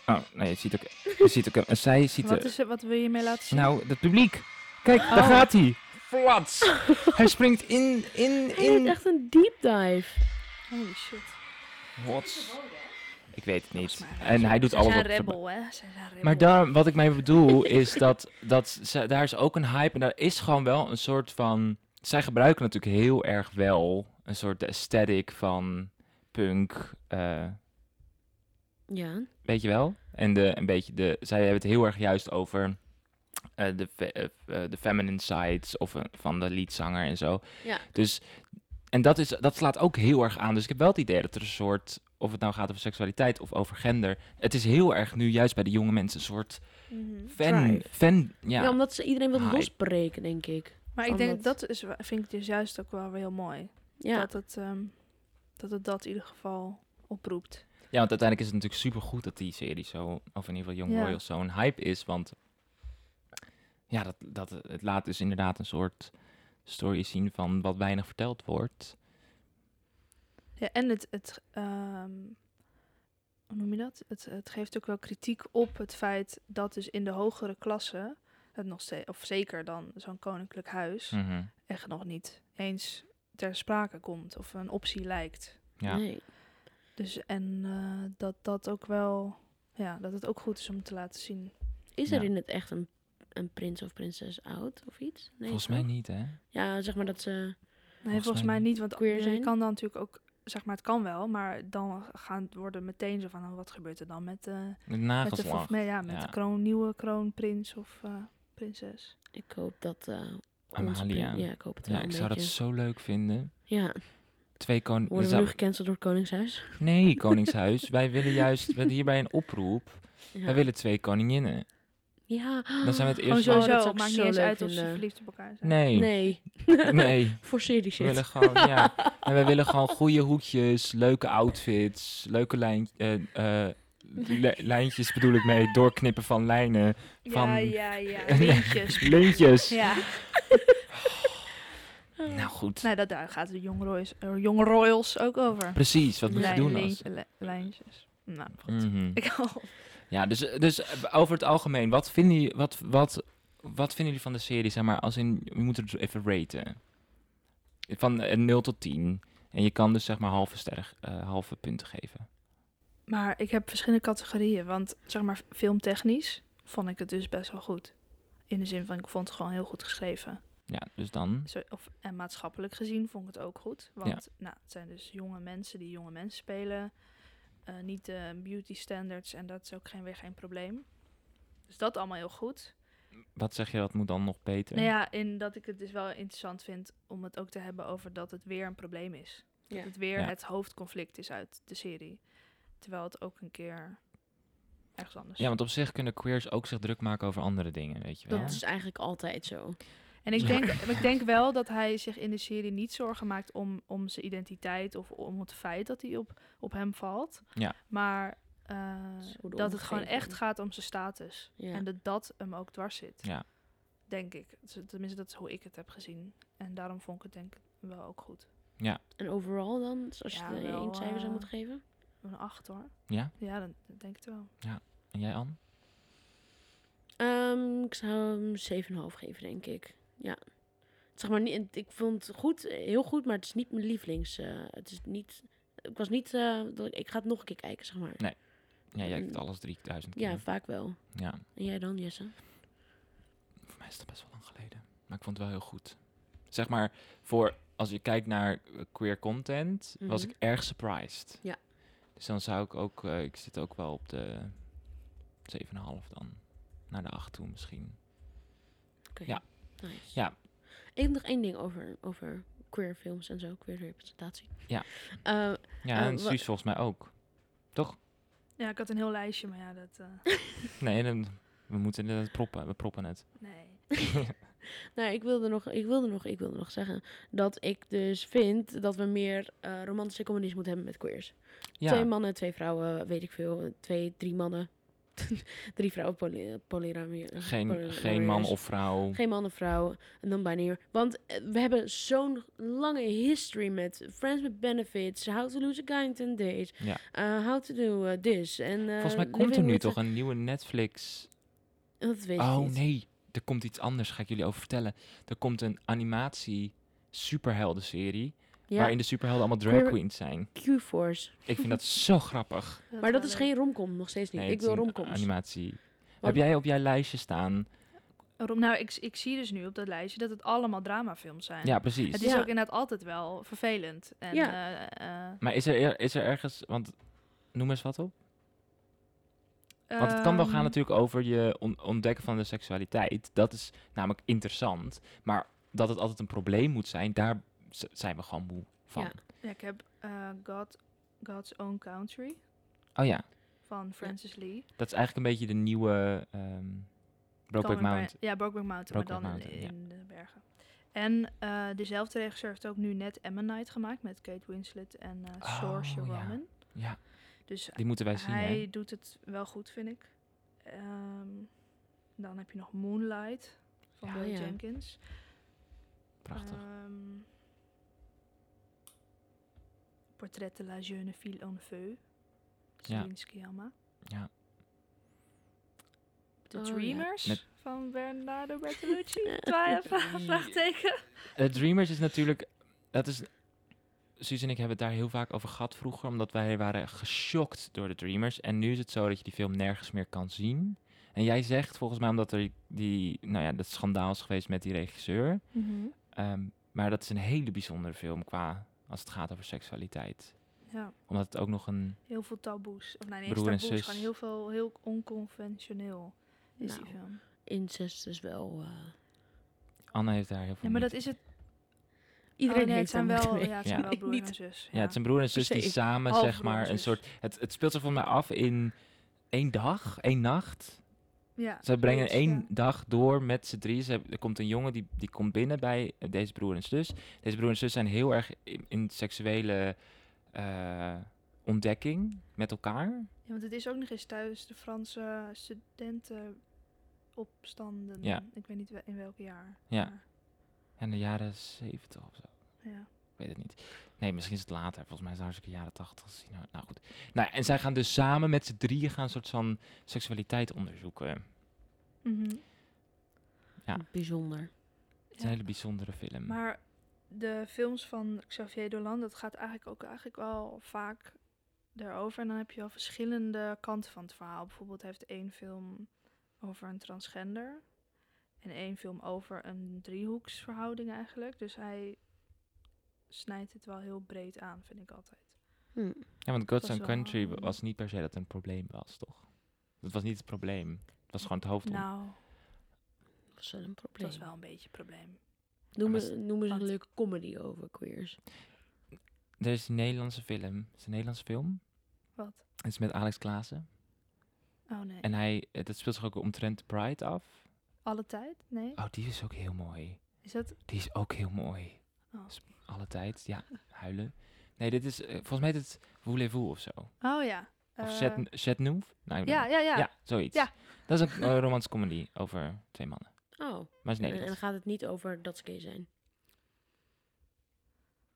Oh, nee, je ziet ook... Je ziet ook zij ziet... Wat, de- is, het- wat wil je mee laten zien? nou, het publiek. Kijk, daar Oh. gaat hij. Flats. hij springt in, in, Hij deed in. echt een deep dive. Holy shit. Wat? Ik weet het niet. Volgens mij. En hij doet Zij alles zijn wat ze- rebel, hè? Zij zijn rebel. Maar daar, wat ik mee bedoel is dat, dat ze- daar is ook een hype en daar is gewoon wel een soort van... Zij gebruiken natuurlijk heel erg wel een soort de aesthetic van punk, eh, Ja. weet je wel? En de, een beetje de, zij hebben het heel erg juist over eh, de, fe- eh, eh, de feminine sides of eh, van de liedzanger en zo. Ja. Dus, en dat, is, dat slaat ook heel erg aan. Dus ik heb wel het idee dat er een soort, of het nou gaat over seksualiteit of over gender... Het is heel erg nu juist bij de jonge mensen een soort Mhm. fan, Drive. fan, Ja. ja. Ah, omdat ze iedereen wil Hype. losbreken, denk ik. Maar ik Van denk dat- dat is, wa- vind ik dus juist ook wel weer heel mooi. Ja. Dat, het, ehm, dat het dat in ieder geval oproept. ja, want uiteindelijk is het natuurlijk supergoed dat die serie zo, of in ieder geval Young Ja. Royals zo'n hype is, want ja, dat, dat, het laat dus inderdaad een soort story zien van wat weinig verteld wordt. Ja, en het, het ehm, hoe noem je dat? Het, het geeft ook wel kritiek op het feit dat dus in de hogere klasse, het nog steeds, of zeker dan zo'n koninklijk huis, Mhm, echt nog niet eens ter sprake komt of een optie lijkt. Ja. Nee. Dus en eh, dat dat ook wel, ja, dat het ook goed is om te laten zien. Is er Ja. in het echt een, een prins of prinses oud of iets? Nee, Volgens toch? mij niet, hè? Ja, zeg maar dat ze... Nee, volgens, mij mij niet. niet, want Queer je zijn? kan dan natuurlijk ook, zeg maar, het kan wel, maar dan gaan worden meteen zo van, oh, wat gebeurt er dan met, eh, De met de, nagelslag. of, met, ja, met ja. de kroon, nieuwe kroonprins of eh, prinses? Ik hoop dat... eh, onze Amalia. prin- Ja, ik hoop het wel Ja, ik een zou dat beetje. zo leuk vinden. Ja. Twee koningen. Worden we nu gecanceld door het Koningshuis? Nee, Koningshuis. wij willen juist, we hebben hierbij een oproep. Ja. Wij willen twee koninginnen. Ja. Dan zijn we het Gewoon eerst. zo- sowieso, Oh, dat zou ik het Oh, maakt zo niet eens leuk uit of ze vinden. verliefd op elkaar zijn. Nee, Nee. nee. Forceer die We shit. willen gewoon, ja. En we willen gewoon goede hoekjes, leuke outfits, leuke lijn, eh, eh, li- lijntjes bedoel ik mee, doorknippen van lijnen, Ja, Van- ja, ja, lintjes. lintjes. ja. Nou goed, Nou, dat, daar gaat de Young Royals, eh, Young Royals ook over. precies, wat moet je Lijn- doen lin- als... li- lijntjes. Nou, goed. Mhm. Ik al. Ja, dus, dus over het algemeen, wat vinden, jullie, wat, wat, wat vinden jullie van de serie, zeg maar, als in, we moeten het even raten. Van eh, 0 tot 10. En je kan dus zeg maar halve, sterren, eh, halve punten geven. Maar ik heb verschillende categorieën. Want zeg maar, filmtechnisch vond ik het dus best wel goed. In de zin van, ik vond het gewoon heel goed geschreven. Ja, dus dan... Zo- of, en maatschappelijk gezien vond ik het ook goed. Want nou, het zijn dus jonge mensen die jonge mensen spelen. Eh, niet de beauty standards en dat is ook geen, weer geen probleem. Dus dat allemaal heel goed. Wat zeg je, dat moet dan nog beter? Nou ja, in dat ik het dus wel interessant vind om het ook te hebben over dat het weer een probleem is. Ja. Dat het weer Ja. het hoofdconflict is uit de serie. Terwijl het ook een keer ergens anders Ja, want op zich kunnen queers ook zich druk maken over andere dingen, weet je wel. Dat is eigenlijk altijd zo. En ik Ja. denk, ik denk wel dat hij zich in de serie niet zorgen maakt om, om zijn identiteit of om het feit dat hij op, op hem valt. Ja. Maar eh, Hoe de dat het gewoon omgeving. echt gaat om zijn status. Ja. En dat dat hem ook dwars zit. Ja. Denk ik. Dus Tenminste, dat is hoe ik het heb gezien. En daarom vond ik het denk ik wel ook goed. En overal dan? Dus als je Ja, er wel, één cijfer zou eh, moeten geven? Een acht hoor. Ja? Ja, dan dan denk ik het wel. En jij, Anne? Ehm, ik zou hem 7,5 geven, denk ik. Ja. Zeg maar, niet, ik vond het goed, heel goed, maar het is niet mijn lievelings. eh, het is niet... Ik was niet... eh, dat ik- ik ga het nog een keer kijken, zeg maar. Ja, jij kijkt Mm. alles 3000 keer. Ja, Ja. vaak wel. En jij dan, Jesse? Voor mij is dat best wel lang geleden. Maar ik vond het wel heel goed. Zeg maar, voor als je kijkt naar eh, queer content, was Mhm. ik erg surprised. Ja. Dus dan zou ik ook, eh, ik zit ook wel op de 7,5 dan. Naar de 8 toe misschien. Oké. Ja. Nice. Ja. Ik heb nog één ding over, over queer films en zo, queer representatie. Ja. Eh, Ja, Eh, en wa- Suus volgens mij ook. Toch? Ja, ik had een heel lijstje, maar ja, dat... eh, Nee, dan, we moeten het proppen. We proppen het. nee. nou, ik wilde, nog, ik, wilde nog, ik wilde nog zeggen dat ik dus vind dat we meer eh, romantische comedies moeten hebben met queers. Twee ja, mannen, twee vrouwen, weet ik veel. Twee, drie mannen. drie vrouwen, poly, polyamorie- geen, polyamorie- geen man of vrouw. Geen man of vrouw, en dan bijna Want eh, we hebben zo'n lange history met Friends with Benefits, How to Lose a Guy in 10 Days, Ja. eh, How to Do eh, This. En, eh, Volgens mij komt Living er nu with a- toch een nieuwe Netflix. Dat weet ik Oh niet. nee, er komt iets anders, ga ik jullie over vertellen. Er komt een animatie superhelden serie, Ja, waarin de superhelden allemaal drag Queer- queens zijn. Q-Force. Ik vind dat zo grappig. Maar dat wel is leuk. geen romcom, nog steeds niet. Nee, ik het is wil een romcoms. Animatie. Want- Heb jij op jouw lijstje staan? Rom- Nou, ik, ik zie dus nu op dat lijstje dat het allemaal dramafilms zijn. Ja, precies. Het is Ja. ook inderdaad altijd wel vervelend. En, Ja. eh, eh, Maar is er, er- is er ergens, want noem eens wat op. Want het kan wel gaan ehm, natuurlijk over je on- ontdekken van de seksualiteit. Dat is namelijk interessant. Maar dat het altijd een probleem moet zijn, daar z- zijn we gewoon moe van. Ja. Ja, ik heb eh, God, God's Own Country Oh ja, van Francis Lee. dat is eigenlijk een beetje de nieuwe ehm Brokeback Kan me bij- Mountain. Ja, Brokeback Mountain, maar Brokeback dan in, Mountain, in de bergen. En eh, dezelfde regisseur heeft ook nu net Ammonite gemaakt met Kate Winslet en eh Oh, Saoirse ja. Ronan. Ja, Dus die moeten wij zien. hij Hè? doet het wel goed, vind ik. Ehm, dan heb je nog Moonlight van Ja. Bill Oh, ja. Jenkins. Prachtig. Ehm, Portret de la jeune fille en feu. Celine Sciamma. Ja. The Oh, ja. Dreamers Met- van Bernardo Bertolucci. Twa- vra- Vraagteken. Eh, Dreamers is natuurlijk. Dat is. Suus en ik hebben het daar heel vaak over gehad vroeger, omdat wij waren geschokt door de Dreamers. En nu is het zo dat je die film nergens meer kan zien. En jij zegt volgens mij omdat er die, nou ja, dat schandaal is geweest met die regisseur. Mhm. Ehm, maar dat is een hele bijzondere film qua als het gaat over seksualiteit. Ja, Omdat het ook nog een. heel veel taboes. Of nee, niet eens Broer en taboes. zus. Gewoon heel veel, heel onconventioneel is Nou, die film. incest is wel... eh, Oh, Anna heeft daar heel veel. Ja, maar moeite dat is het. iedereen oh, nee, het heeft zijn daar moeite wel, mee. ja, het zijn Ja. wel broer Niet- en zus. Ja, het zijn broer en Per zus die se. samen, Half zeg broer en maar, een zus. soort... Het, het speelt zich voor mij af in één dag, één nacht. Ja, Ze brengen zoiets, één ja. dag door met z'n drieën. Ze hebben- er komt een jongen, die, die komt binnen bij eh, deze broer en zus. Deze broer en zus zijn heel erg in, in seksuele eh, ontdekking met elkaar. Ja, want het is ook nog eens tijdens de Franse studentenopstanden. Ja. Ik weet niet wel- in welk jaar. Ja. maar, En de jaren zeventig of zo. ja. Ik weet het niet. Nee, misschien is het later. Volgens mij is het hartstikke jaren tachtig. Nou, nou goed. Nou, en zij gaan dus samen met z'n drieën gaan een soort van seksualiteit onderzoeken. Het Mhm. Mm. Ja. Bijzonder. is een Ja. hele bijzondere film. Maar de films van Xavier Dolan, dat gaat eigenlijk ook eigenlijk wel vaak daarover. En dan heb je wel verschillende kanten van het verhaal. Bijvoorbeeld heeft één film over een transgender. En één film over een driehoeksverhouding eigenlijk. Dus hij snijdt het wel heel breed aan, vind ik altijd. Hm. Ja, want Gods was and wel, Country wa- ehm, was niet per se dat het een probleem was, toch? Dat was niet het probleem. Het was gewoon het hoofd. Nou, Dat is wel een dat probleem. was wel een beetje een probleem. Noem, Maar eens- noem eens een want- leuke comedy over queers. Er is een Nederlandse film. Het is een Nederlandse film. Wat? Het is met Alex Klaassen. Oh nee. En hij, eh, dat speelt zich ook omtrent Pride af. Alle tijd? Nee. Oh, die is ook heel mooi. Is dat? Die is ook heel mooi. Oh. Alle tijd. Ja, huilen. Nee, dit is, eh, volgens mij is het Voulez-vous of zo. Oh ja. Of eh, Chet Chetnouf? Nou, ik ja, ja, ja, Ja, zoiets. Ja. Dat is een eh, romantische comedy over twee mannen. Oh, Maar het is en, en dan Nederlands. gaat het niet over dat ze gay zijn.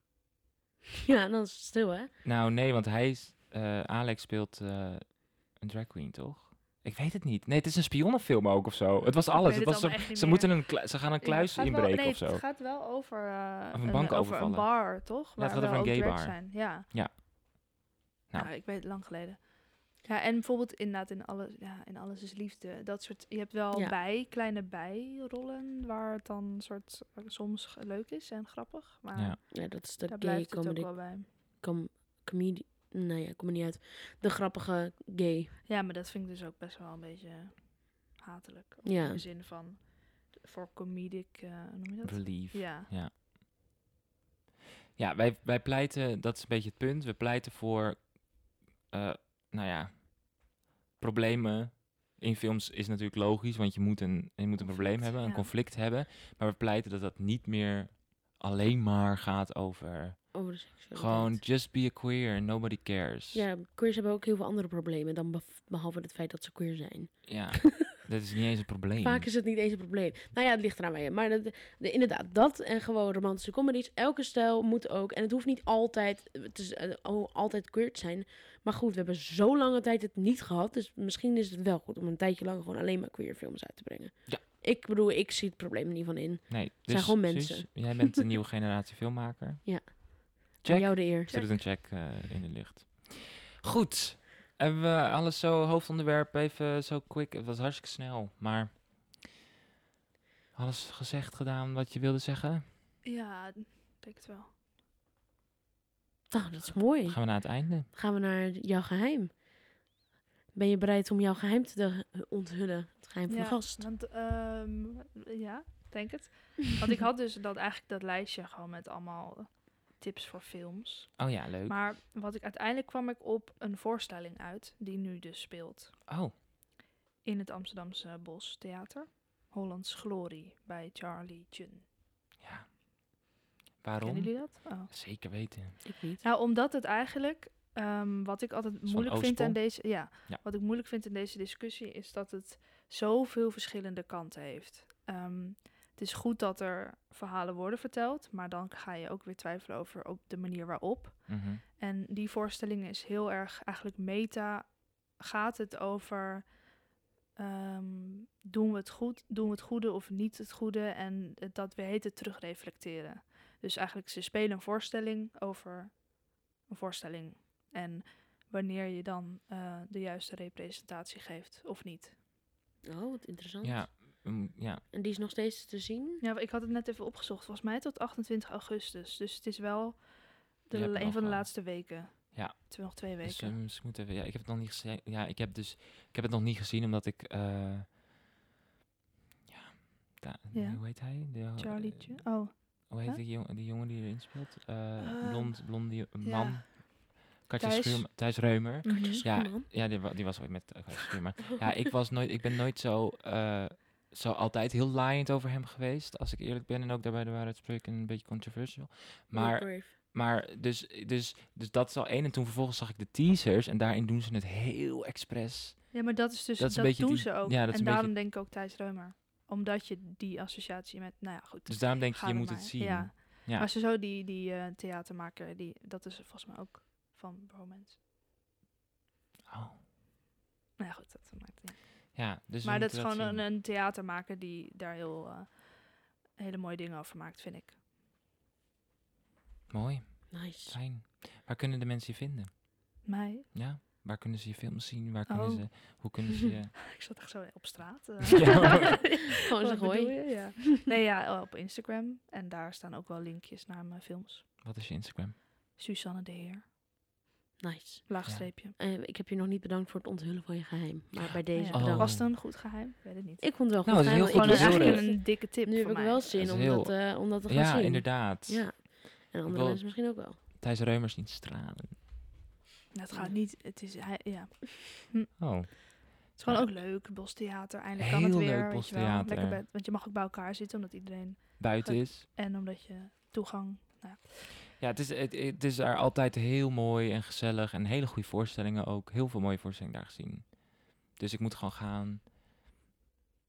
Ja, dan is het stil, hè? Nou, nee, want hij is... eh, Alex speelt eh, een drag queen, toch? Ik weet het niet. Nee, het is een spionnenfilm ook of zo. Het was Ik alles. Het weet het was zo- allemaal echt niet ze, meer. moeten een klu- ze gaan een Ja, kluis het gaat wel- inbreken nee, of zo. Het gaat wel over, eh, Of een bank over een overvallen. bar, toch? het gaat wel over een ook gay drags bar. Zijn. Ja. Ja. Nou. Nou. ik weet het lang geleden. Ja, en bijvoorbeeld inderdaad in alles, ja, in alles is liefde. Dat soort, je hebt wel Ja. bij, kleine bijrollen waar het dan een soort eh, soms g- leuk is en grappig. Maar Ja. Ja, dat is de daar gay blijft het ook comedy. wel bij. Com comedy. Nou ja, kom er niet uit. De grappige gay. Ja, maar dat vind ik dus ook best wel een beetje hatelijk. Ook Ja. In de zin van, voor comedic, eh, hoe noem je dat? Relief. Ja, Ja. wij, wij pleiten... Dat is een beetje het punt. We pleiten voor... eh, nou ja... Problemen in films is natuurlijk logisch, want je moet een, je moet een probleem Conflict, hebben, een ja. conflict hebben. Maar we pleiten dat dat niet meer alleen maar gaat over Over de seksualiteit. gewoon just be a queer and nobody cares. Ja, queers hebben ook heel veel andere problemen dan bef- behalve het feit dat ze queer zijn. Ja, dat is niet eens een probleem. Vaak is het niet eens een probleem. Nou ja, het ligt eraan waar je. Maar dat, de- inderdaad, dat en gewoon romantische comedies. Elke stijl moet ook. En het hoeft niet altijd, het is, eh, al- altijd queer te zijn. Maar goed, we hebben zo lange tijd het niet gehad. Dus misschien is het wel goed om een tijdje lang gewoon alleen maar queer films uit te brengen. Ja. Ik bedoel, ik zie het probleem er niet van in. Nee, dus, zijn gewoon Suus, mensen. jij bent een nieuwe generatie filmmaker. Ja. Aan Check. jou de eer. Ik zet het een check eh, in de lucht. Goed. Hebben we alles zo, hoofdonderwerp, even zo quick. Het was hartstikke snel, maar... Alles gezegd, gedaan, wat je wilde zeggen? Ja, ik denk het wel. Nou, dat is mooi. Gaan we naar het einde? Gaan we naar jouw geheim. Ben je bereid om jouw geheim te de- onthullen? Het geheim van ja, de gast. Want, ehm, ja, ik denk het. Want ik had dus dat, eigenlijk dat lijstje gewoon met allemaal tips voor films. Oh ja, leuk. Maar wat ik uiteindelijk kwam ik op een voorstelling uit, die nu dus speelt Oh, in het Amsterdamse Bos Theater. Hollands Glorie bij Charlie Chun. ja. Kennen Waarom? jullie dat? Oh. Zeker weten. Ik niet. Nou, omdat het eigenlijk, ehm, wat ik altijd moeilijk vind oostpol? aan deze, ja, Ja. wat ik moeilijk vind in deze discussie, is dat het zoveel verschillende kanten heeft. Ehm, het is goed dat er verhalen worden verteld, maar dan ga je ook weer twijfelen over op de manier waarop. Mhm. En die voorstelling is heel erg eigenlijk meta. Gaat het over ehm, doen we het goed, doen we het goede of niet het goede en het- dat we heten terugreflecteren. Dus eigenlijk ze spelen een voorstelling over een voorstelling en wanneer je dan eh, de juiste representatie geeft of niet. Oh, wat interessant. Ja, mm, ja. En die is nog steeds te zien. Ja, ik had het net even opgezocht. Volgens mij tot 28 augustus. Dus het is wel de, Je hebt een nog, van de eh, laatste weken. Ja. Het nog twee weken. Dus, eh, misschien moeten we- ja, ik heb het nog niet gezien. Ja, ik heb dus, ik heb het nog niet gezien omdat ik, eh, ja, da- Ja. hoe heet hij? De, Charlie, eh, Chu- oh. Hoe heet Huh? die, jong- die jongen die erin speelt? Eh, Eh, blond, blondie ja. man. Katja Thijs. Schuurma- Thijs Reumer. Mhm. Ja, man. ja die, wa- die was ooit met eh, Katja Schuurma. ja, ik, was nooit, ik ben nooit zo, eh, zo altijd heel laaiend over hem geweest. Als ik eerlijk ben. En ook daarbij de waarheid spreken een beetje controversial. Maar Brave. maar dus, dus, dus dat is al één. En toen vervolgens zag ik de teasers. En daarin doen ze het heel expres. Ja, maar dat is dus Dat dat, is een beetje doen die- ze ook. ja, dat is en een beetje- daarom denk ik ook Thijs Reumer. Omdat je die associatie met, nou ja, goed. Dus daarom denk ik, ga je er moet maar. het zien. Ja. Ja. Maar ze zo die, die eh, theatermaker, die, dat is volgens mij ook van Bromance. Oh. Nou ja, goed, dat maakt niet. uit. ja dus we maar dat is moeten gewoon een, zien. een theatermaker die daar heel eh, hele mooie dingen over maakt, vind ik. eh, Mooi, Nice. fijn. Waar kunnen de mensen je vinden? Mij? Ja, waar kunnen ze je films zien? Waar kunnen Oh. ze, hoe kunnen ze je... Ik zat echt zo op straat. eh. Ja. Gewoon Wat zo bedoel gooi. je? Ja. Nee, ja, op Instagram. En daar staan ook wel linkjes naar mijn films. Wat is je Instagram? Susanne de Heer, Nice. laagstreepje. Eh, ik heb je nog niet bedankt voor het onthullen van je geheim. Maar bij deze Ja. Oh. bedankt. Was het een goed geheim? Ik weet het niet. Ik vond het Nou, wel dat goed. is heel geheim, goed Gewoon want een, ik bedoeld. eigenlijk was een dikke tip Nu heb van ik mij. wel zin Dat is om, heel- dat, eh, om dat te gaan Ja, zien. inderdaad. Ja. En andere bedoel- mensen misschien ook wel. Thijs Reumers niet stralen. Nou, het gaat niet. Het is, hij, ja. het Oh, is gewoon Ja. ook leuk. Bostheater. Eindelijk kan Heel het weer. leuk, weet je wel. Bostheater. Lekker bij, want je mag ook bij elkaar zitten. Omdat iedereen. buiten Goed. is. En omdat je toegang. Ja, het is, het, het is daar altijd heel mooi en gezellig. En hele goede voorstellingen ook. Heel veel mooie voorstellingen daar gezien. Dus ik moet gewoon gaan.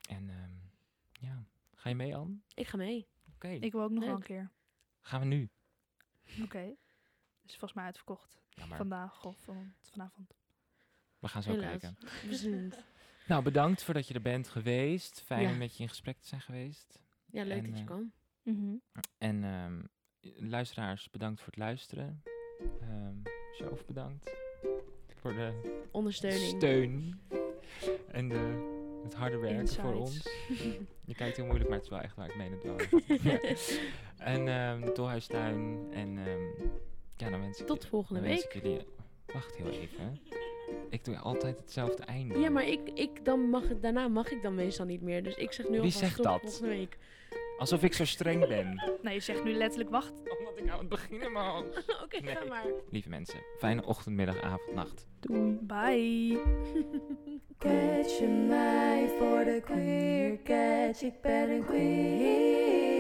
En ehm, ja, ga je mee, Anne? Ik ga mee. Oké, Ik wil ook nog wel een Leuk. keer. gaan we nu. Oké. Is volgens mij uitverkocht. Jammer, Vandaag of van, vanavond. we gaan zo Helaas. kijken. We zien het. Nou, bedankt voordat je er bent geweest. Fijn Ja. om met je in gesprek te zijn geweest. Ja, leuk En, dat je eh, kwam. Mhm. En ehm, luisteraars, bedankt voor het luisteren. Ehm zelf bedankt voor de Ondersteuning. steun en de, het harde werken voor Insights. ons. Je kijkt heel moeilijk, maar het is wel echt waar. Ik meen het wel. Ja. En ehm de Tolhuistuin. En ehm, ja, dan wens ik, Tot volgende dan wens week. ik jullie... Wacht heel even. Ik doe altijd hetzelfde einde. Ja, maar ik, ik dan mag het, daarna mag ik dan meestal niet meer. Dus ik zeg nu Wie alvast zegt tot dat? volgende week. Alsof ik zo streng ben. Nou, je zegt nu letterlijk wacht. Omdat ik aan het beginnen mag. Oké, ga Nee. maar. Lieve mensen, fijne ochtend, middag, avond, nacht. Doei. Bye. Catch Catch je mij voor de queer catch, ik ben een queer.